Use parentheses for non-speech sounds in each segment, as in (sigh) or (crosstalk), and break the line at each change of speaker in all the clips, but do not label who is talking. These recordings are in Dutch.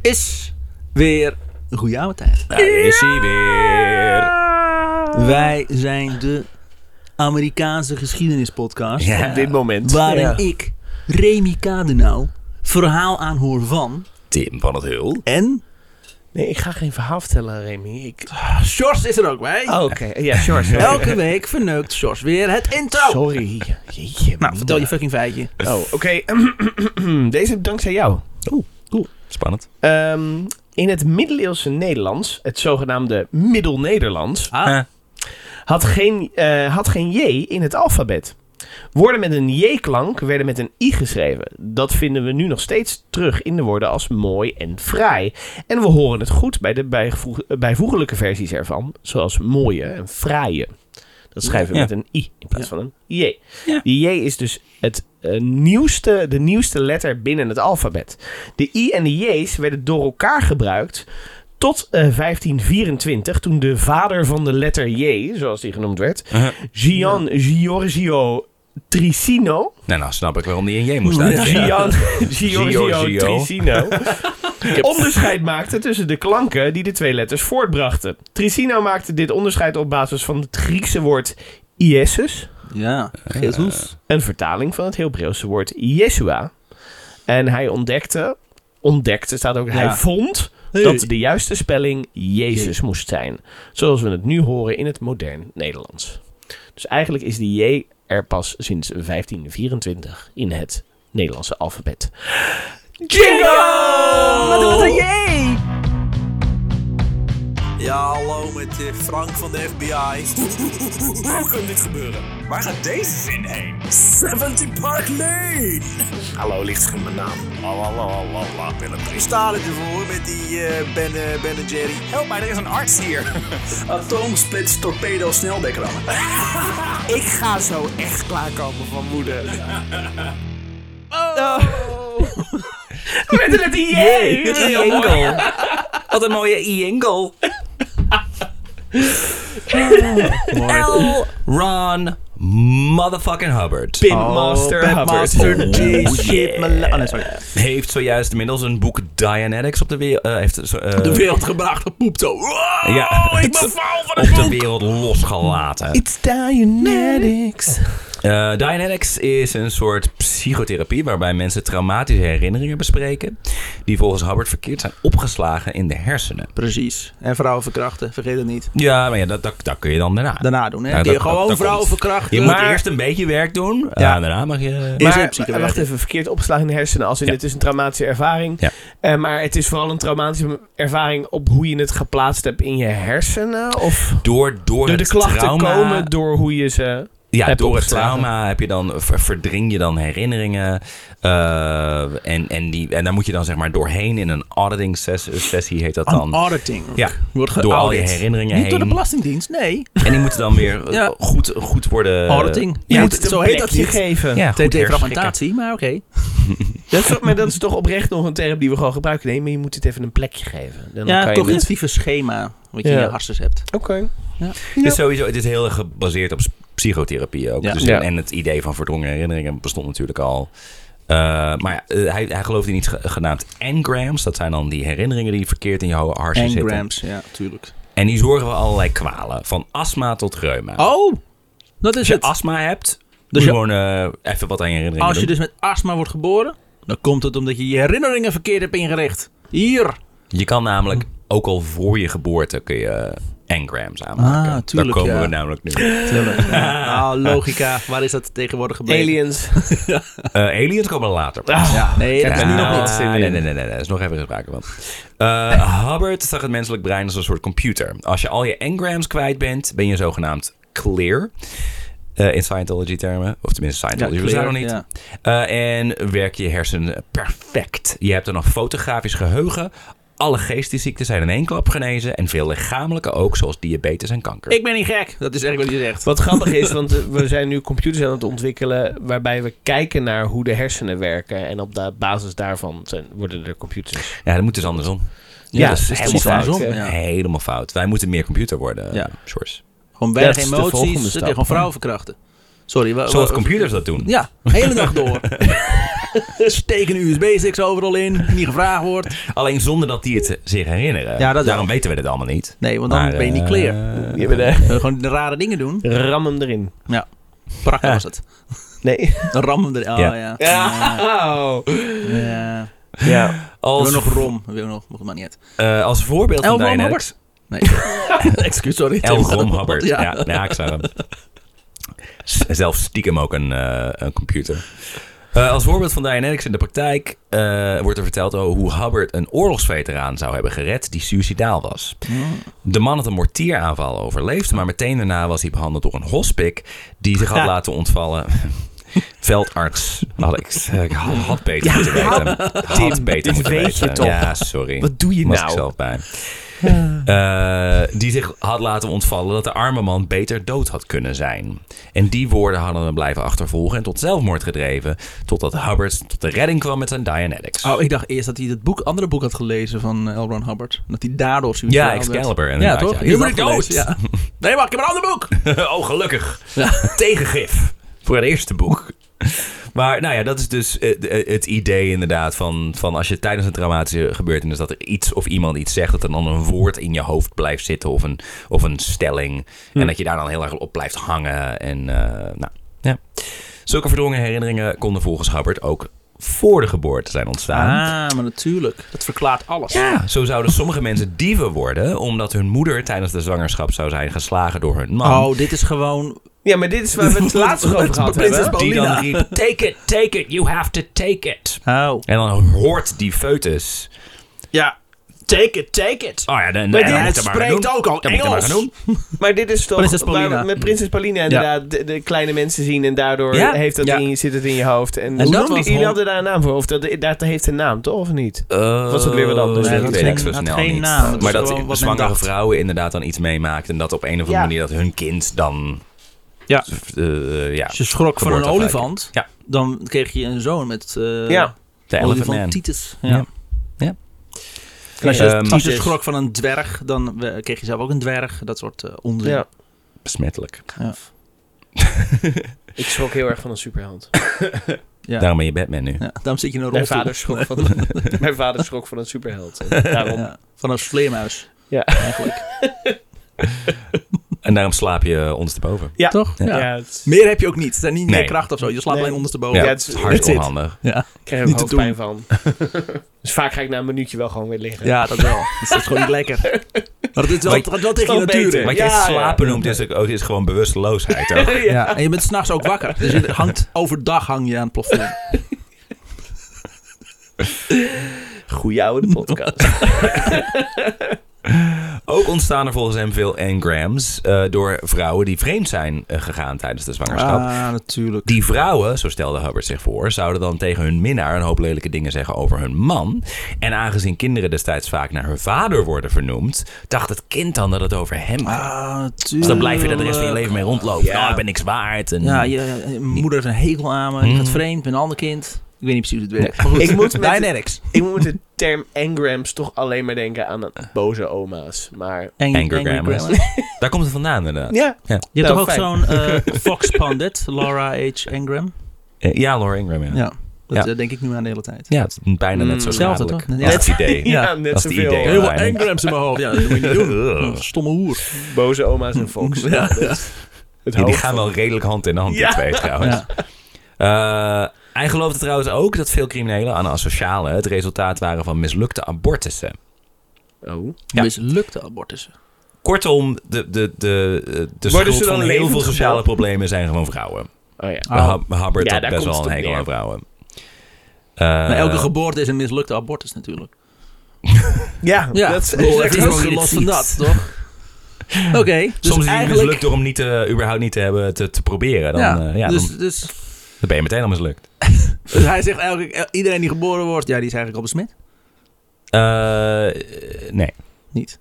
is weer een goede oude tijd.
Daar is hij weer.
Wij zijn de Amerikaanse geschiedenispodcast.
Ja, op dit moment.
Waarin
Ja.
ik, Remy Kadenau, verhaal aanhoor van
Tim van het Hul.
en...
Nee, ik ga geen verhaal vertellen, Remy. Ik...
Sjors is er ook bij.
Oh, oké. Ja, sure, sorry.
Elke week verneukt Sjors weer het intro.
Sorry. Jeetje,
Nou, vertel je
man.
fucking feitje.
Oh, oké. (clears throat) Deze dankzij jou.
Spannend.
Ehm, in het middeleeuwse Nederlands, het zogenaamde Middel-Nederlands,
Ah,
had geen, eh, had geen J in het alfabet. Woorden met een J-klank werden met een I geschreven. Dat vinden we nu nog steeds terug in de woorden als mooi en fraai. En we horen het goed bij de bijgevoeg- eh, bijvoeglijke versies ervan, zoals mooie en fraaie. Dat schrijven we
Ja.
met een I in plaats van een J.
Ja.
Die J is dus het, eh, nieuwste, de nieuwste letter binnen het alfabet. De I en de J's werden door elkaar gebruikt tot eh, 1524, toen de vader van de letter J, zoals die genoemd werd, Gian Giorgio Tricino.
Nou, nou snap ik waarom die in J moest uitvinden.
Gian Giorgio
Giorgio.
Tricino. (laughs) onderscheid maakte tussen de klanken die de twee letters voortbrachten. Tricino maakte dit onderscheid op basis van het Griekse woord Iesus.
ja. Jezus.
Een vertaling van het Hebreeuwse woord Yeshua. En hij ontdekte, ontdekte staat ook, hij vond
Hey.
dat de juiste spelling Jezus moest zijn. Zoals we het nu horen in het modern Nederlands. Dus eigenlijk is die J er pas sinds 1524 in het Nederlandse alfabet. Jingle! Wat doet een
Oh.
J?
Ja, hallo met eh, Frank van de FBI. Hoe kan dit gebeuren? Waar gaat deze zin heen? 70 Park Lane! Hallo, licht is mijn naam. Lalalala, Willem. Ik sta ervoor met die eh ben, eh, ben en Jerry. Help mij, er is een arts (laughs) hier. Atoomsplits torpedo sneldekker Ik ga zo echt klaarkomen van moeder.
Met de letter J!
Jingle. Wat een mooie jingle. L. Ron motherfucking Hubbard.
Oh, Pinmaster Hubbard.
Oh, yeah. Heeft zojuist inmiddels een boek Dianetics op de wereld... heeft, zo- eh,
De wereld gebracht op poepto.
ja,
Ik
(laughs)
ben faal van
op de wereld losgelaten.
It's Dianetics.
Eh, Dianetics is een soort psychotherapie waarbij mensen traumatische herinneringen bespreken. die volgens Hubbard verkeerd zijn opgeslagen in de hersenen.
Precies. En vrouwen verkrachten, vergeet het niet.
Ja, maar ja, dat, dat, dat kun je dan daarna.
Daarna doen, hè?
Ja, dat-
Die
dat- dat
gewoon
komt.
vrouwen verkrachten.
Je moet
Maar-
eerst een beetje werk doen.
Ja.
en daarna mag je.
Is
Maar eh,
een psychowerk.
wacht even, verkeerd opgeslagen in de hersenen. Als in,
Ja.
het is een traumatische ervaring.
Ja.
Eh, maar het is vooral een traumatische ervaring op hoe je het geplaatst hebt in je hersenen. Of
Door, door
door de
het
klachten
trauma,
komen door hoe je ze...
ja,
hebt
door het
opgeslagen.
trauma heb je dan, ver- verdring je dan herinneringen. eh, en, en, die, en daar moet je dan zeg maar doorheen in een auditing ses- sessie heet dat
Aan
dan.
auditing.
Ja,
Wordt
door al je
geaudit.
herinneringen
Niet door de
heen.
Belastingdienst, nee.
en die moeten dan weer
(laughs)
eh,
Ja.
goed, goed worden.
Auditing.
Ja,
Je
goed-
moet- zo heet dat
je
niet.
geven.
ja, goed herschikken.
TT-fragmentatie, maar oké.
Dat is, maar dat is toch oprecht nog een term die we gewoon gebruiken. Nee, maar je moet het even een plekje geven. Dan kan
Ja,
je
toch
het-
het vieve schema wat je
Ja.
in je hersens hebt.
Oké.
Het is Dus sowieso, het is heel erg gebaseerd op s- psychotherapie ook.
Ja.
Dus,
Ja.
En het idee van verdrongen herinneringen bestond natuurlijk al. Eh, maar ja, eh, hij, hij geloofde in iets ge- genaamd engrams. Dat zijn dan die herinneringen die verkeerd in je ho- harsen zitten.
Engrams, ja, tuurlijk.
En die zorgen voor allerlei kwalen. Van astma tot reuma.
Oh, dat is
Als je
het.
astma hebt,
Dus
dus
je-
gewoon eh, even wat aan je herinneringen
Als je
doen.
dus met astma wordt geboren, dan komt het omdat je je herinneringen verkeerd hebt ingericht. Hier.
Je kan namelijk, ook al voor je geboorte, kun je engrams aanmaken.
Ah, tuurlijk,
Daar komen
ja.
we namelijk nu. (laughs)
Nou, logica. Waar is dat tegenwoordig gebleven?
Aliens.
Eh aliens komen
(laughs)
later.
Ja, nee, dat is
Ja,
nu nog
niet.
Nee, nee, nee, nee, nee. Daar is nog even sprake van. Eh, Hubbard zag het menselijk brein als een soort computer. Als je al je engrams kwijt bent, ben je zogenaamd clear. Eh, in Scientology-termen. Of tenminste, Scientology
Ja,
ja, bestaat nog
clear,
niet. Eh, en werk je hersenen perfect. Je hebt dan een fotografisch geheugen. Alle geestesziekten zijn in één klap genezen. En veel lichamelijke ook, zoals diabetes en kanker.
Ik ben niet gek. Dat is eigenlijk wat je zegt.
Wat grappig is, want eh, we zijn nu computers aan het ontwikkelen waarbij we kijken naar hoe de hersenen werken. En op da- basis daarvan zijn, worden er computers.
Ja, dat moet dus andersom.
Ja,
dat is
precies
helemaal fout.
andersom, ja.
Helemaal fout. Wij moeten meer computer worden,
Ja.
ja. Sjors.
Gewoon
dat
weinig
is de volgende
emoties. Het
stap.
is gewoon vrouwen verkrachten. Sorry. wa-
Zoals
Eh, wa- (laughs)
computers dat doen.
Ja, hele dag door. (laughs) Steek een USB-sticks overal in, niet gevraagd wordt.
Alleen zonder dat die het zich herinneren.
Ja, dat
Daarom
wel.
weten we dit allemaal niet.
Nee, want dan
Maar,
ben je niet
eh,
clear.
Je bent, eh,
Eh, gewoon de rare dingen doen.
ram hem erin.
Ja, prachtig was het.
Nee.
Een ram erin. Oh
Ja.
ja.
Ja.
Ja.
ja.
Als...
Als,
nog rom. We hebben nog, mocht maar niet uit.
eh, als voorbeeld van
Elron
Dynex-
Hubbard. Nee. (laughs) Excuus,
(laughs)
sorry.
Elron Hubbard. Ja,
Ja.
ja. ik zou hem. S- Zelf stiekem ook een, eh, een computer. Eh, als voorbeeld van Dianetics in de praktijk eh, wordt er verteld over hoe Hubbard een oorlogsveteraan zou hebben gered die suicidaal was.
Hmm.
De man had een mortieraanval overleefd, maar meteen daarna was hij behandeld door een hospik die zich had laten ontvallen. (laughs) Veldarts had ik, eh, ik had beter moeten weten. Had
Tim,
beter
dit
moeten
weet je
weten.
toch?
Ja, sorry.
Wat doe je
Was
nou?
ik zelf bij. Eh, die zich had laten ontvallen dat de arme man beter dood had kunnen zijn. En die woorden hadden hem blijven achtervolgen en tot zelfmoord gedreven. Totdat Hubbard tot de redding kwam met zijn Dianetics.
Oh, ik dacht eerst dat hij het boek, andere boek had gelezen van Elron Hubbard. Dat hij daardoor suicidaal
ja,
werd.
Excalibur.
Ja,
inderdaad,
toch?
ja.
Eerst
Nu
dat
moet ik dood!
gelezen, Ja. Nee, wacht, ik heb een ander boek.
(laughs) oh, gelukkig.
Ja.
(laughs) Tegengif. Voor het eerste boek. Maar nou ja, dat is dus eh, de- eh, het idee inderdaad van, van als je tijdens een traumatische gebeurtenis dat er iets of iemand iets zegt, dat er dan een woord in je hoofd blijft zitten of een, of een stelling. En
Hm.
dat je daar dan heel erg op blijft hangen. En eh, nou, ja. Zulke verdrongen herinneringen konden volgens Hubbard ook voor de geboorte zijn ontstaan.
Ah, maar natuurlijk. Dat verklaart alles.
Ja, zo zouden sommige mensen dieven worden omdat hun moeder tijdens de zwangerschap zou zijn geslagen door hun man.
Oh, dit is gewoon...
ja, maar dit is
(laughs)
waar we het laatst nog over gehad
Prinses
hebben.
die dan
Paulina.
riep, take it, take it, you have to take it.
Oh.
En dan hoort die foetus.
Ja. Take it, take it.
Oh ja, dan, dan,
Maar die-
dan
het
moet ik maar gaan
spreekt
doen.
ook al
Dan moet ik maar
Engels.
gaan doen.
Maar dit is toch
Prinses
waar we
Paulina.
met Prinses Paulina inderdaad de, de kleine mensen zien en daardoor
Ja.
heeft dat
Ja.
in, zit het in je hoofd. En, hoe
dat
noemde-
was
jullie
hol-
hadden daar een naam voor, of dat, dat heeft een naam toch, of niet?
Eh,
Was dat weer wat anders?
Nee,
Dat
dat
ging-
weet ik zo
had
snel
geen
niet.
naam. Dat
maar
is
dat
gewoon wat men
zwangere
dacht.
vrouwen inderdaad dan iets meemaakt. En dat op een of andere
Ja.
manier dat hun kind dan...
Ja.
eh, ja.
Als je schrok van een
Geboorteafwijking.
olifant,
Ja.
dan kreeg je een zoon met eh
Ja.
De Elephant Man.
olifantitis. Ja.
Ja.
En Als, je,
Ehm,
als je
titis.
schrok van een dwerg, dan eh, kreeg je zelf ook een dwerg. Dat soort eh, onzin.
Ja.
Besmettelijk.
Ja.
Ik schrok heel erg van een superheld.
Ja.
Daarom ben je Batman nu.
Ja, daarom zit je in een
Mijn
rolstoel.
vader schrok van, mijn vader schrok van een superheld. En Daarom.
(laughs) Ja, van een vleermuis.
Ja.
Eigenlijk.
En daarom slaap je ondersteboven.
Ja.
Toch? Ja.
Ja, het,
Meer heb je ook niet. Er zijn niet meer
Nee.
kracht of zo. Je slaapt
Nee.
alleen ondersteboven. Oh, Ja.
Ja, het is
het is-
that's
hartstikke
it.
onhandig.
Ja.
ik krijg er
Niet te
hoofdpijn
(laughs)
van. dus vaak ga ik na een minuutje wel gewoon weer liggen.
dat wel. Dus dat is gewoon niet
(laughs)
lekker. Maar het, is wel,
Maar-
het gaat wel tegen je
wel
natuur
beter.
in.
Wat jij
Ja,
slapen noemt is, ook- is gewoon bewusteloosheid. Ook. (laughs)
Ja. En je bent s'nachts ook wakker. Dus je hangt, overdag hang je aan het plafond.
Ah,
Goeie oude podcast.
Ook ontstaan er volgens hem veel engrams eh, door vrouwen die vreemd zijn eh, gegaan tijdens de zwangerschap.
Ah, natuurlijk.
Die vrouwen, zo stelde Hubbard zich voor, zouden dan tegen hun minnaar een hoop lelijke dingen zeggen over hun man. En aangezien kinderen destijds vaak naar hun vader worden vernoemd, dacht het kind dan dat het over hem ging.
Ah, natuurlijk.
dus dan blijf je er de rest van je leven mee rondlopen.
Ja.
Nou, ik ben niks waard. En...
Ja, je, je moeder heeft een hekel aan
Hmm.
me. Je gaat vreemd met een ander kind. Ik weet niet precies hoe het werkt. Maar goed, (laughs)
Ik moet met-
Dynamics.
ik moet met de term engrams toch alleen maar denken aan boze oma's. Maar
Ang-
Angergrammers.
Angergrammers.
(laughs) Daar komt het vandaan inderdaad.
ja,
Je hebt
Nou,
toch ook
fijn.
zo'n eh, (laughs) Fox Pundit, Laura H. Engram?
Eh, Ja, Laura Ingram, ja.
Ja,
Ja,
dat
Ja.
eh, denk ik nu aan de hele tijd.
het is bijna net zo
Hetzelfde,
schadelijk
toch?
als
Ja.
het idee.
ja,
Ja,
net
dat is het
zoveel.
idee.
Heel veel
Ja, en-
Engrams in mijn hoofd. Ja, dat moet je niet
(laughs)
doen. Stomme hoer.
Boze oma's en Fox.
Ja.
Het
Ja, die
hoofd
gaan
van-
wel redelijk hand in hand,
Ja.
die twee trouwens.
Ja.
Eh, hij geloofde trouwens ook dat veel criminelen aan asocialen het resultaat waren van mislukte abortussen.
Oh.
Ja. Eh.
Mislukte abortussen.
Kortom, de, de, de, eh, de
Worden
schuld
ze dan
van heel
levend
veel sociale
gebracht?
problemen zijn gewoon vrouwen.
Oh ja.
Oh.
Hub- Hubbard
Ja,
had
daar
best
komt
wel een
het op
hekel
neer.
aan vrouwen.
Maar
Eh,
elke geboorte is een mislukte abortus natuurlijk.
Ja,
Ja,
dat is
ik bedoel,
echt
het is gewoon los van dat, toch? Oké, dus
Soms is het
eigenlijk...
mislukt door hem niet te, überhaupt niet te hebben te, te proberen. Dan,
ja,
eh, ja,
dus,
dan,
dus,
dan ben je meteen al mislukt.
dus hij zegt eigenlijk, eh, iedereen die geboren wordt, ja, die is eigenlijk al besmet.
Eh, nee. (laughs)
Niet.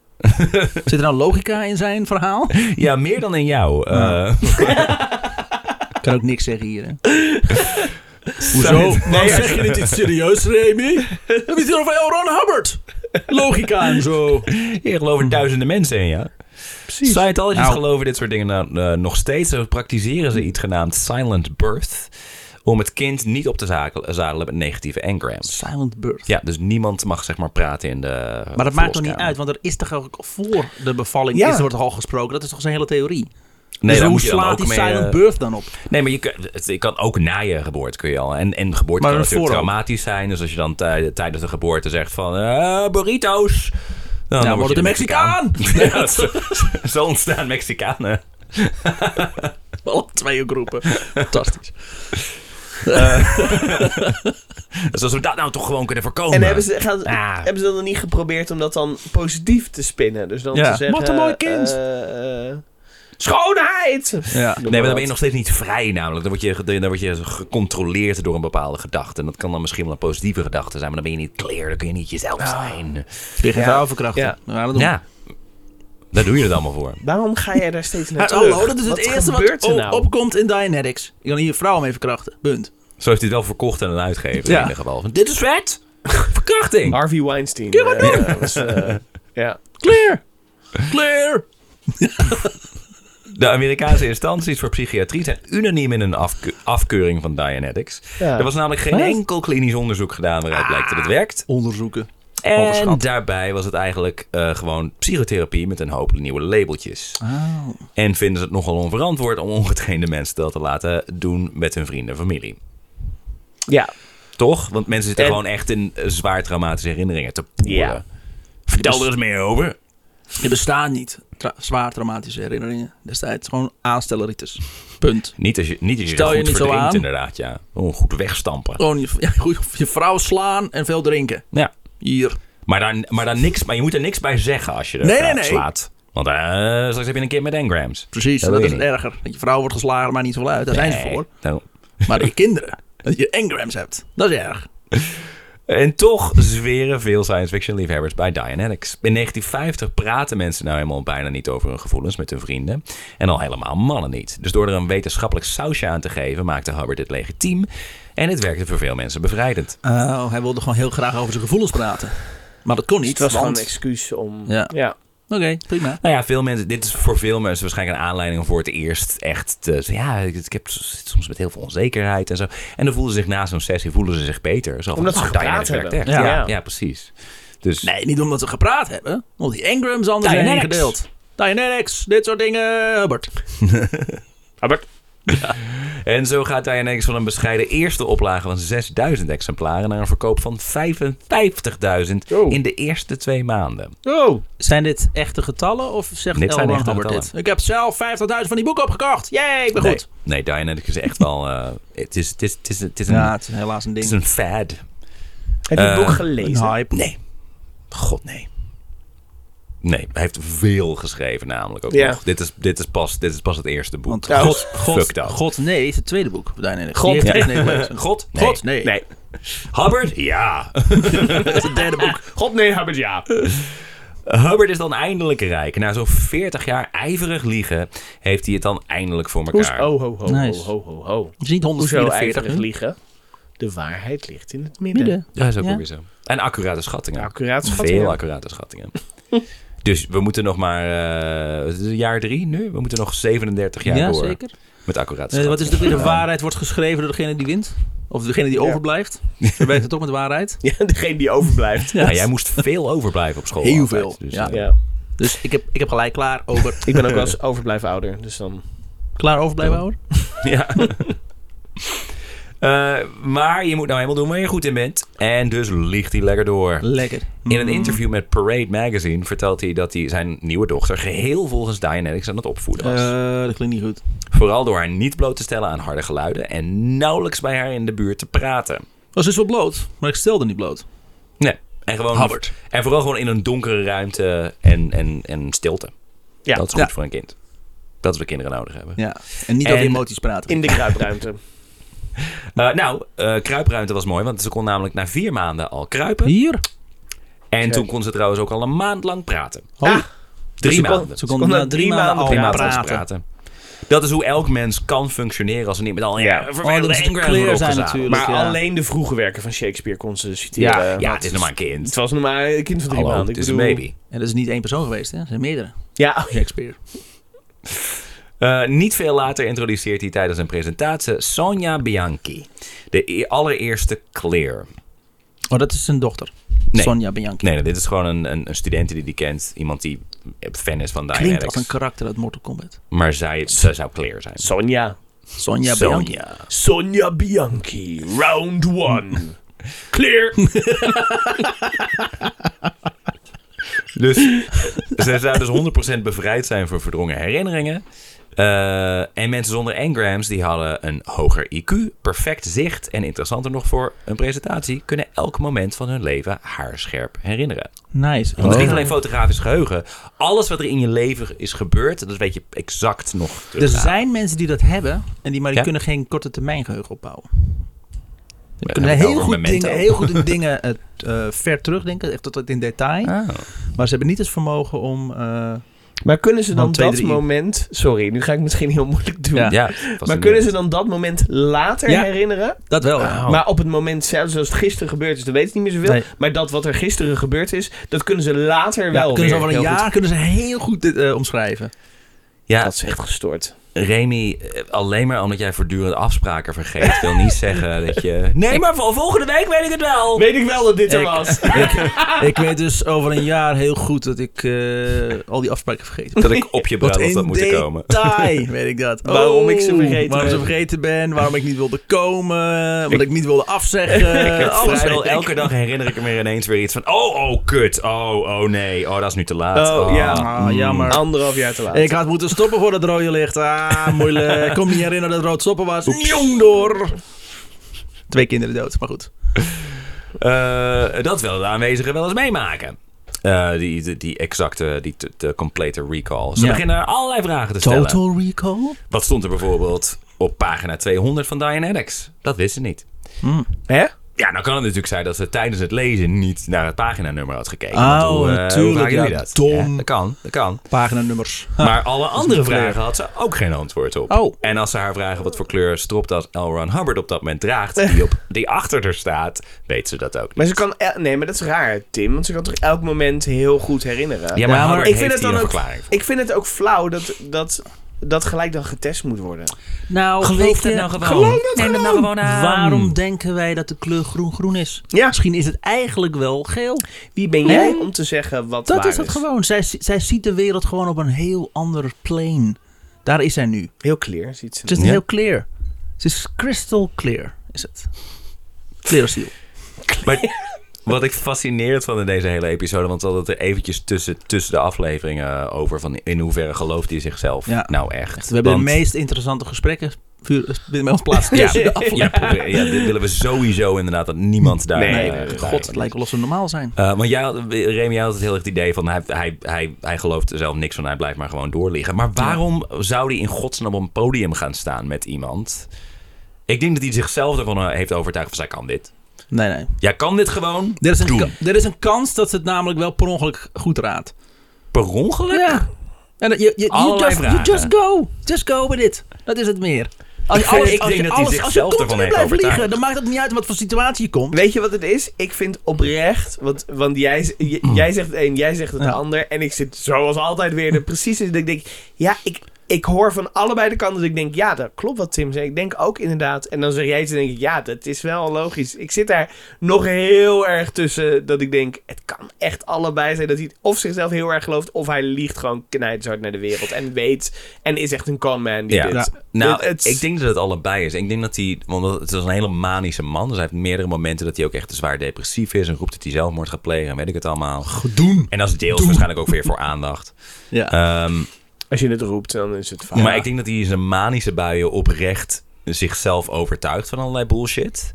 Zit er nou logica in zijn verhaal?
Ja, meer dan in jou. Eh,
Ik kan ook niks zeggen hier,
(laughs)
hè. Waarom zeg je dit iets serieus, Remy? Heb je het hier over L. Ron Hubbard? Logica en zo.
Hier geloven duizenden mensen in, ja.
precies.
Scientologists
Nou.
geloven dit soort dingen nou, eh, nog steeds. Ze praktiseren ze iets genaamd silent birth. Om het kind niet op te zakel- zadelen met negatieve engrams.
Silent Birth.
Ja, dus niemand mag zeg maar praten in de
Maar dat maakt toch niet uit, want er is toch ook voor de bevalling
Ja.
is, er wordt toch al gesproken. Dat is toch zijn hele theorie.
Nee,
dus
daar
hoe
moet je dan
slaat
ook
die
mee,
Silent
eh,
Birth dan op?
Nee, maar je kan, het- je kan ook na je geboorte kun je al. En, en geboorte
Maar
kan
dat
natuurlijk
vooral.
traumatisch zijn. Dus als je dan tij- tijdens de geboorte zegt van... eh, burritos! Dan,
Nou,
word
wordt
je
het een Mexicaan. (laughs)
(laughs) Ja, zo, zo ontstaan Mexicanen.
Alle twee groepen. Fantastisch.
Dus als we dat nou toch gewoon kunnen
Oh,
voorkomen.
En hebben ze, gaan,
Ah.
hebben ze dat dan niet geprobeerd om dat dan positief te spinnen? Dus dan
Ja.
te zeggen...
Wat een mooi kind.
eh, eh, schoonheid!
Ja.
Noem
Nee, maar dan ben
wat.
je nog steeds niet vrij namelijk. Dan word, je, dan word je gecontroleerd door een bepaalde gedachte. En dat kan dan misschien wel een positieve gedachte zijn. Maar dan ben je niet clear. Dan kun je niet jezelf
Ah.
zijn.
Tegen
Ja.
vrouwenverkrachting.
Ja.
Nou, dat doen we.
Ja. Daar doe je het allemaal voor.
Waarom ga jij daar steeds
Maar
naartoe?
hallo, dat is het eerste
gebeurt
wat
er
op-
nou?
opkomt in Dianetics. Je kan hier vrouwen mee verkrachten. Punt.
Zo heeft hij het wel verkocht aan een uitgever
Ja.
in ieder geval. Van, dit is vet! (laughs) Verkrachting!
Harvey Weinstein. eh, was, eh,
(laughs)
ja.
Clear! Clear!
De Amerikaanse instanties voor psychiatrie zijn unaniem in een afke- afkeuring van Dianetics.
Ja.
Er was namelijk geen
Wat? Ah.
enkel klinisch onderzoek gedaan waaruit blijkt dat het werkt.
Onderzoeken.
En
Overschat.
daarbij was het eigenlijk eh, gewoon psychotherapie met een hoop nieuwe labeltjes.
Oh.
En vinden ze het nogal onverantwoord om ongetrainde mensen dat te laten doen met hun vrienden en familie.
ja.
Toch? Want mensen zitten
En-
gewoon echt in eh, zwaar traumatische herinneringen te poelen.
Ja.
Vertel er eens meer over.
Er bestaan niet tra- zwaar traumatische herinneringen destijds. Gewoon aanstelleritis. Punt.
Niet als je, niet als je,
Stel
goed
je niet zo
verdrinkt,
aan.
inderdaad. Ja. Gewoon goed wegstampen.
Gewoon je, ja, goed, je vrouw slaan en veel drinken.
Ja.
Hier.
Maar, daar, maar, daar niks, maar je moet er niks bij zeggen als je er
Nee,
eh,
nee, nee.
slaat. Want eh, straks heb je een kind met engrams.
Precies,
Dat
dat,
wil je
is
niet.
erger. Dat je vrouw wordt geslagen, maar niet zoveel uit. Daar zijn ze
Nee.
voor.
Nou,
Maar je kinderen. Dat je engrams hebt. Dat is erg.
En toch zweren veel science fiction liefhebbers bij Dianetics. In 1950 praten mensen nou helemaal bijna niet over hun gevoelens met hun vrienden. En al helemaal mannen niet. Dus door er een wetenschappelijk sausje aan te geven, maakte Hubbard dit legitiem. En het werkte voor veel mensen bevrijdend.
Oh, hij wilde gewoon heel graag over zijn gevoelens praten. Maar dat
Dus
kon niet.
Het was gewoon
want-
een excuus om...
Ja.
ja.
Oké, prima.
Nou ja, veel mensen, dit is voor veel mensen waarschijnlijk een aanleiding om voor het eerst echt te... Ja, ik, ik heb s- soms met heel veel onzekerheid en zo. En dan voelen ze zich na zo'n sessie voelen ze zich beter. Zo van,
Omdat ze
"Oh,
gepraat
Dianetics werkt
hebben."
echt." Ja.
Ja.
Ja, precies. Dus
Nee, niet omdat ze gepraat hebben. Want die engrams anders zijn
Dianetics.
ingedeeld. Dianetics, dit soort dingen, Hubbard.
En zo gaat hij ineens van een bescheiden eerste oplage van 6000 exemplaren naar een verkoop van 55.000
Zo.
in de eerste twee maanden.
Oh.
Zijn dit echte getallen of zegt
Dit
L.
zijn
Ron
echte
Hubbard
getallen.
dit? Ik heb zelf 50.000 van die boeken opgekocht. Jee, ik ben
Nee,
goed.
nee Dianetics is echt wel... eh, het, is, het, is, het, is, het, is een,
Ja, het is helaas een
Mm. het is
ding.
een fad.
Heb je het
Eh,
boek gelezen?
hype.
Nee. God, nee. Nee, hij heeft veel geschreven namelijk ook
Ja.
nog. Dit is, dit, is pas, dit is pas het eerste boek. Dus
Want
Ja,
God,
(laughs) fuck
God,
dat.
God, nee, is het tweede boek. Dianetics.
God,
Die heeft
nee.
het niet gelezen.
God? Nee.
God, nee.
Nee.
Hubbard? Ja.
Dat is het derde
(laughs)
boek.
God, nee, Habert, ja.
Hubbard is dan eindelijk rijk. Na zo'n 40 jaar ijverig liegen, heeft hij het dan eindelijk voor
Hoes,
elkaar.
oh, ho, ho,
Nice.
ho, ho, ho, ho.
Het is niet
Hoezo
144.
ijverig
hè?
liegen? De waarheid ligt in het midden.
Midden.
Ja, dat is ook
Ja.
weer zo. En accurate schattingen.
Accuraat
Veel
schat.
accurate schattingen. (laughs) dus we moeten nog maar... eh, het is jaar drie nu? We moeten nog 37 jaar
Ja,
door
zeker.
met accurate
Eh, wat
schattingen.
is het weer? De waarheid wordt geschreven door degene die wint. Of degene die
Ja.
overblijft. We weten toch met de waarheid.
(laughs) Ja, degene die overblijft.
Nou, jij moest veel overblijven op school.
Heel
altijd.
veel,
Dus,
ja.
eh,
Ja.
Dus ik heb, ik heb gelijk klaar over.
Ik ben ook wel eens overblijven ouder, dus dan...
Klaar overblijven, ouder?
(laughs) Ja. Eh, maar je moet nou helemaal doen waar je goed in bent. En dus liegt hij lekker door.
Lekker.
In een interview met Parade Magazine vertelt hij dat hij zijn nieuwe dochter geheel volgens Dianetics aan het opvoeden was.
Eh, dat klinkt niet goed.
Vooral door haar niet bloot te stellen aan harde geluiden en nauwelijks bij haar in de buurt te praten.
Was dus wel bloot, maar ik stelde niet bloot.
Nee. En, gewoon,
Hubbard.
en vooral gewoon in een donkere ruimte en, en, en stilte.
Ja.
dat is goed
Ja.
voor een kind. Dat is wat kinderen nodig hebben.
Ja. En niet
En-
over emoties praten.
In de
(laughs)
kruipruimte.
Eh, nou, eh, kruipruimte was mooi, want ze kon namelijk na vier maanden al kruipen.
Hier?
En toen kon ze trouwens ook al een maand lang praten.
Ah,
Drie
ze kon-
maanden.
Oh, Ze
kon
konden na drie maanden al
Drie
praten.
maanden al praten. Dat is hoe elk mens kan functioneren als er niet met al ja,
Ja.
Oh,
vervelende
dat is de
engrams
kleur
worden
zijn
opgezadeld.
natuurlijk.
maar
ja.
alleen de vroege werken van Shakespeare kon ze
Ja,
citeren.
ja,
want
het is nog maar een kind.
Het was nog maar een kind van drie
Hallo,
maanden.
het
Ik
is een
bedoel,
baby.
En dat is niet één persoon geweest, hè? Er zijn meerdere.
Ja,
Shakespeare.
Eh, niet veel later introduceert hij tijdens een presentatie Sonja Bianchi, de e- allereerste Clear.
Oh, dat is zijn dochter.
Nee.
Sonja Bianchi.
Nee, dit is gewoon een, een, een student die die kent, iemand die fan is van
Klinkt als
Dynamics.
een karakter uit Mortal Kombat.
maar zij, zij zou Clear zijn.
Sonja.
Sonja, Bianchi.
Sonja.
Sonja Bianchi, round one.
(laughs)
Clear.
Dus ze zou dus 100% bevrijd zijn voor verdrongen herinneringen. Eh, en mensen zonder engrams die hadden een hoger IQ, perfect zicht en interessanter nog voor een presentatie kunnen elk moment van hun leven haarscherp herinneren.
Nice.
Want het is
Oh.
niet alleen fotografisch geheugen. Alles wat er in je leven is gebeurd, dat weet je exact nog terug.
Er zijn mensen die dat hebben, en die, maar die
Ja?
kunnen geen korte termijn geheugen opbouwen. Die
Ja,
kunnen
heb ik het
heel
over
goed,
Memento.
dingen, heel goed in dingen eh, eh, ver terugdenken, echt tot het in detail.
Oh.
Maar ze hebben niet het vermogen om... eh,
Maar kunnen ze dan
Want twee,
dat
drie.
moment... Sorry, nu ga ik misschien heel moeilijk doen.
Ja.
Ja, het was
Maar
een-
kunnen ze dan dat moment later
Ja. Oh,
herinneren?
dat wel, ja.
Maar op het moment zelf, zoals het gisteren gebeurd is, dan weten ze niet meer zoveel.
Nee.
Maar dat wat er gisteren gebeurd is, dat kunnen ze later
Ja,
wel
kunnen ze
weer
over een
heel
jaar
goed-
kunnen ze heel goed dit eh, omschrijven.
Ja,
Dat is echt gestoord.
Remy, eh, alleen maar omdat jij voortdurend afspraken vergeet, wil
(laughs)
niet zeggen dat je... Nee, maar vol- volgende week weet ik het wel.
Weet ik wel dat dit
Oh.
er
Ik- (laughs)
was.
ik, ik weet dus over een jaar heel goed dat ik eh, al die afspraken vergeten ben.
Dat ik op je bruiloft had moeten komen.
Eh, detail weet ik dat.
Waarom ik ze
Oh,
vergeten
waarom
ben.
ze vergeten ben, waarom ik niet wilde komen, wat ik, niet wilde afzeggen.
(laughs) Ik heb
alles
vrijwel
weet ik.
elke dag herinner ik me ineens weer iets van... Oh, oh, kut. Oh, oh, nee. Oh, Mm. dat is nu te laat.
Oh, ja.
Ah, jammer.
Anderhalf jaar te laat.
Ik had moeten stoppen voor dat rode licht. Ah, moeilijk. Ik kon me niet herinneren dat het rood stoppen was. Jong door. Twee kinderen dood, maar goed.
Eh, dat willen de aanwezigen wel eens meemaken. Eh, die, die, die exacte, die t- de complete recall. Ze
Ja.
beginnen allerlei vragen te stellen.
recall?
Wat stond er bijvoorbeeld op pagina 200 van Dianetics? Dat wisten ze niet.
Hè?
Ja, nou kan het natuurlijk zijn dat ze tijdens het lezen niet naar het paginanummer had gekeken.
Oh,
Want hoe, eh,
natuurlijk,
Hoe vaak
ja,
doe je dat?
dom.
Ja, dat kan, dat kan.
Paginanummers.
Maar alle andere
kleur.
vragen had ze ook geen antwoord op.
Oh.
En als ze haar vragen wat voor kleur stropdas L. Ron Hubbard op dat moment draagt, die, op, die achter haar staat, weet ze dat ook niet.
Maar ze kan... el- Nee, maar dat is raar, Tim. Want ze kan toch elk moment heel goed
Ja,
herinneren?
maar,
Ja, maar
Hubbard
ik
heeft
vind, het
hier
dan
een
ook,
verklaring voor.
ik vind het ook flauw dat, dat dat gelijk dan getest moet worden.
Nou,
Geloof dat
je-
nou gewoon. Neem het nou gewoon aan.
Waarom denken wij dat de kleur groen groen is?
Ja.
Misschien is het eigenlijk wel geel.
Wie ben jij
Hè?
om te zeggen wat
Dat
waar
is het gewoon. Zij, zij ziet de wereld gewoon op een heel ander plane. Daar is zij nu.
Heel clear, ziet ze.
Het is
Ja.
heel clear. Het is crystal clear, is het. Clear als ziel.
Maar (laughs) wat ik fascinerend vond in deze hele episode, want we hadden het er eventjes tussen, tussen de afleveringen eh, over van in hoeverre gelooft hij zichzelf
Ja.
nou echt.
We hebben
Want-
de meest interessante gesprekken vuur- bij ons plaats.
(laughs) Ja,
tussen de af-
ja, probeer- ja, dit willen we sowieso inderdaad dat niemand daar.
Nee,
eh, daar-
God, het lijkt wel of ze normaal zijn.
Eh, want jij had, Remy, jij had het heel erg het idee van hij, hij, hij, hij gelooft er zelf niks van, hij blijft maar gewoon doorliggen. Maar waarom zou hij in godsnaam op een podium gaan staan met iemand? Ik denk dat hij zichzelf ervan eh, heeft overtuigd van zij kan dit.
Nee, nee.
Jij kan dit gewoon.
Er is, een
Doen.
ka- er is een kans dat ze het namelijk wel per ongeluk goed raadt.
Per ongeluk?
Ja. En dat- je, je, you,
Allerlei
just, you
vragen.
just go. Just go with it. Dat is het meer. Als je
Ik
alles,
denk
als je
dat hij
alles, als je
zichzelf ervan
continu
heeft
blijft
overtuigd.
liegen, dan maakt het niet uit in wat voor situatie je komt.
Weet je wat het is? Ik vind oprecht, want, want jij, z- j-
Mm.
jij zegt het een, jij zegt het
Ja.
ander. En ik zit zoals altijd weer er precies in. Dat ik denk, ja, ik, ik hoor van allebei de kanten. Dat ik denk, ja, dat klopt wat Tim zei. Ik denk ook inderdaad. En dan zeg jij iets en denk ik, ja, dat is wel logisch. Ik zit daar nog heel erg tussen. Dat ik denk, het kan echt allebei zijn. Dat hij of zichzelf heel erg gelooft, of hij liegt gewoon knijtzout naar de wereld. En weet, en is echt een con man. Die
Ja.
dit.
Ja.
Nou,
Dit- het-
ik denk dat het allebei is. Ik denk dat hij, want het is een hele manische man. Dus hij heeft meerdere momenten dat hij ook echt zwaar depressief is. En roept dat hij zelfmoord gaat plegen en weet ik het allemaal.
Doen.
En dat is deels waarschijnlijk ook weer voor aandacht.
Ja.
Ehm,
Als je het roept, dan is het fout.
Maar ik denk dat hij in zijn manische buien oprecht zichzelf overtuigt van allerlei bullshit.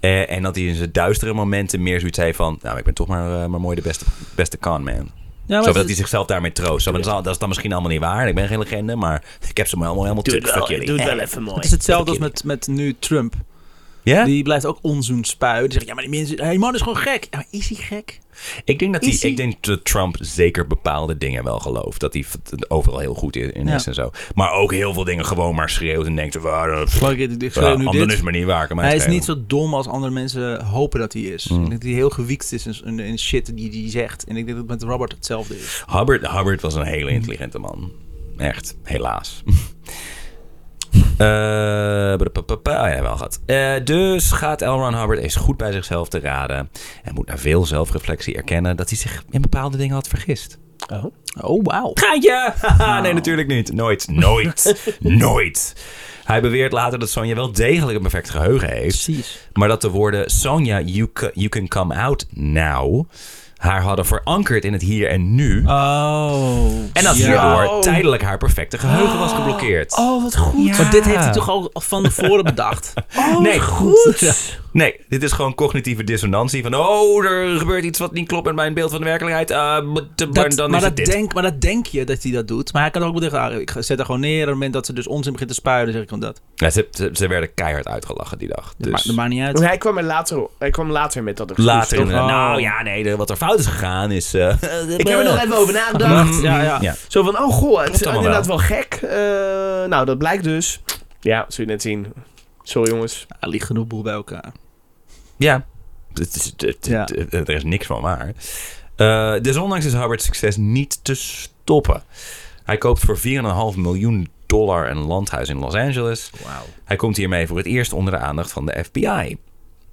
Eh, en dat hij in zijn duistere momenten meer zoiets heeft van... Nou, ik ben toch maar, eh, maar mooi de beste, beste con man.
Ja, maar
Zodat
het-
hij zichzelf daarmee troost. Zo, maar dat, is, al- dat is dan misschien allemaal niet waar. Ik ben geen legende, maar ik heb ze me allemaal helemaal...
Doe
terug
het wel, doe het wel even mooi.
Het is hetzelfde als
Fuck
met, met nu Trump.
Ja?
Die blijft ook onzoen spuien. Die zegt, ja, maar die mensen... Hey, man is gewoon gek. Ja, maar is hij gek?
Ik denk dat, die,
Is hij-
ik denk dat Trump zeker bepaalde dingen wel gelooft. Dat hij v- overal heel goed in in is
Ja.
en zo. Maar ook heel veel dingen gewoon maar schreeuwt en denkt... Waar, eh, pff,
Geloof ik, ik- ik
ja,
schreeuw nu
anderen
dit.
is maar niet waar. kan mij
Hij is
schelen.
niet zo dom als andere mensen hopen dat hij is.
Mm.
Ik denk dat hij heel gewiekst is in- in, in shit die hij zegt. En ik denk dat het met Robert hetzelfde is.
Hubbard, Hubbard was een hele intelligente man. Echt,
(laughs)
helaas. Eh, badapapapa, ah ja, wel gehad. Eh, dus gaat L. Ron Hubbard eens goed bij zichzelf te raden. En moet na veel zelfreflectie erkennen dat hij zich in bepaalde dingen had vergist.
Oh, wauw.
Ga
(laughs)
je? Haha,
Oh.
nee, natuurlijk niet. Nooit, nooit, nooit. Hij beweert later dat Sonja wel degelijk een perfect geheugen heeft.
Precies.
Maar dat de woorden Sonja, you, ca- you can come out now... haar hadden verankerd in het hier en nu.
Oh.
En dat
Ah, Ja.
hierdoor tijdelijk haar perfecte geheugen was geblokkeerd.
Oh, wat goed.
Maar dit heeft hij toch al van tevoren
(laughs)
bedacht?
Oh, nee,
Goed.
Nee, dit is gewoon cognitieve dissonantie van... oh, er gebeurt iets wat niet klopt met mijn beeld van de werkelijkheid. eh, maar dan
Dat-
is
maar,
het
dat
dit.
denk, maar dat denk je dat hij dat doet. Maar hij kan ook wel zeggen, ah, ik zet er gewoon neer. En op het moment dat ze dus onzin begint te spuien, dan zeg ik gewoon dat.
Ja, ze, ze- ze werden keihard uitgelachen die dag.
Dat, ma-
Dus
dat maakt niet uit.
Hij kwam, er later, hij kwam later met dat excuus.
later
toch?
Oh.
inderdaad, Nou ja, nee, de- wat er fout is gegaan is... eh, (laughs)
Ik heb er nog even over nagedacht.
Mm, ja, ja.
ja.
Zo van, oh goh, het is
allemaal
inderdaad wel, gek. Eh, nou, dat blijkt dus. Ja, zul je net zien. Sorry jongens.
Er ligt genoeg boel bij elkaar.
Ja. Het is, het- het-
Ja.
het- er is niks van waar. Eh, desondanks is Hubbard's succes niet te stoppen. Hij koopt voor 4,5 miljoen dollar een landhuis in Los Angeles.
Wauw.
Hij komt hiermee voor het eerst onder de aandacht van de FBI. En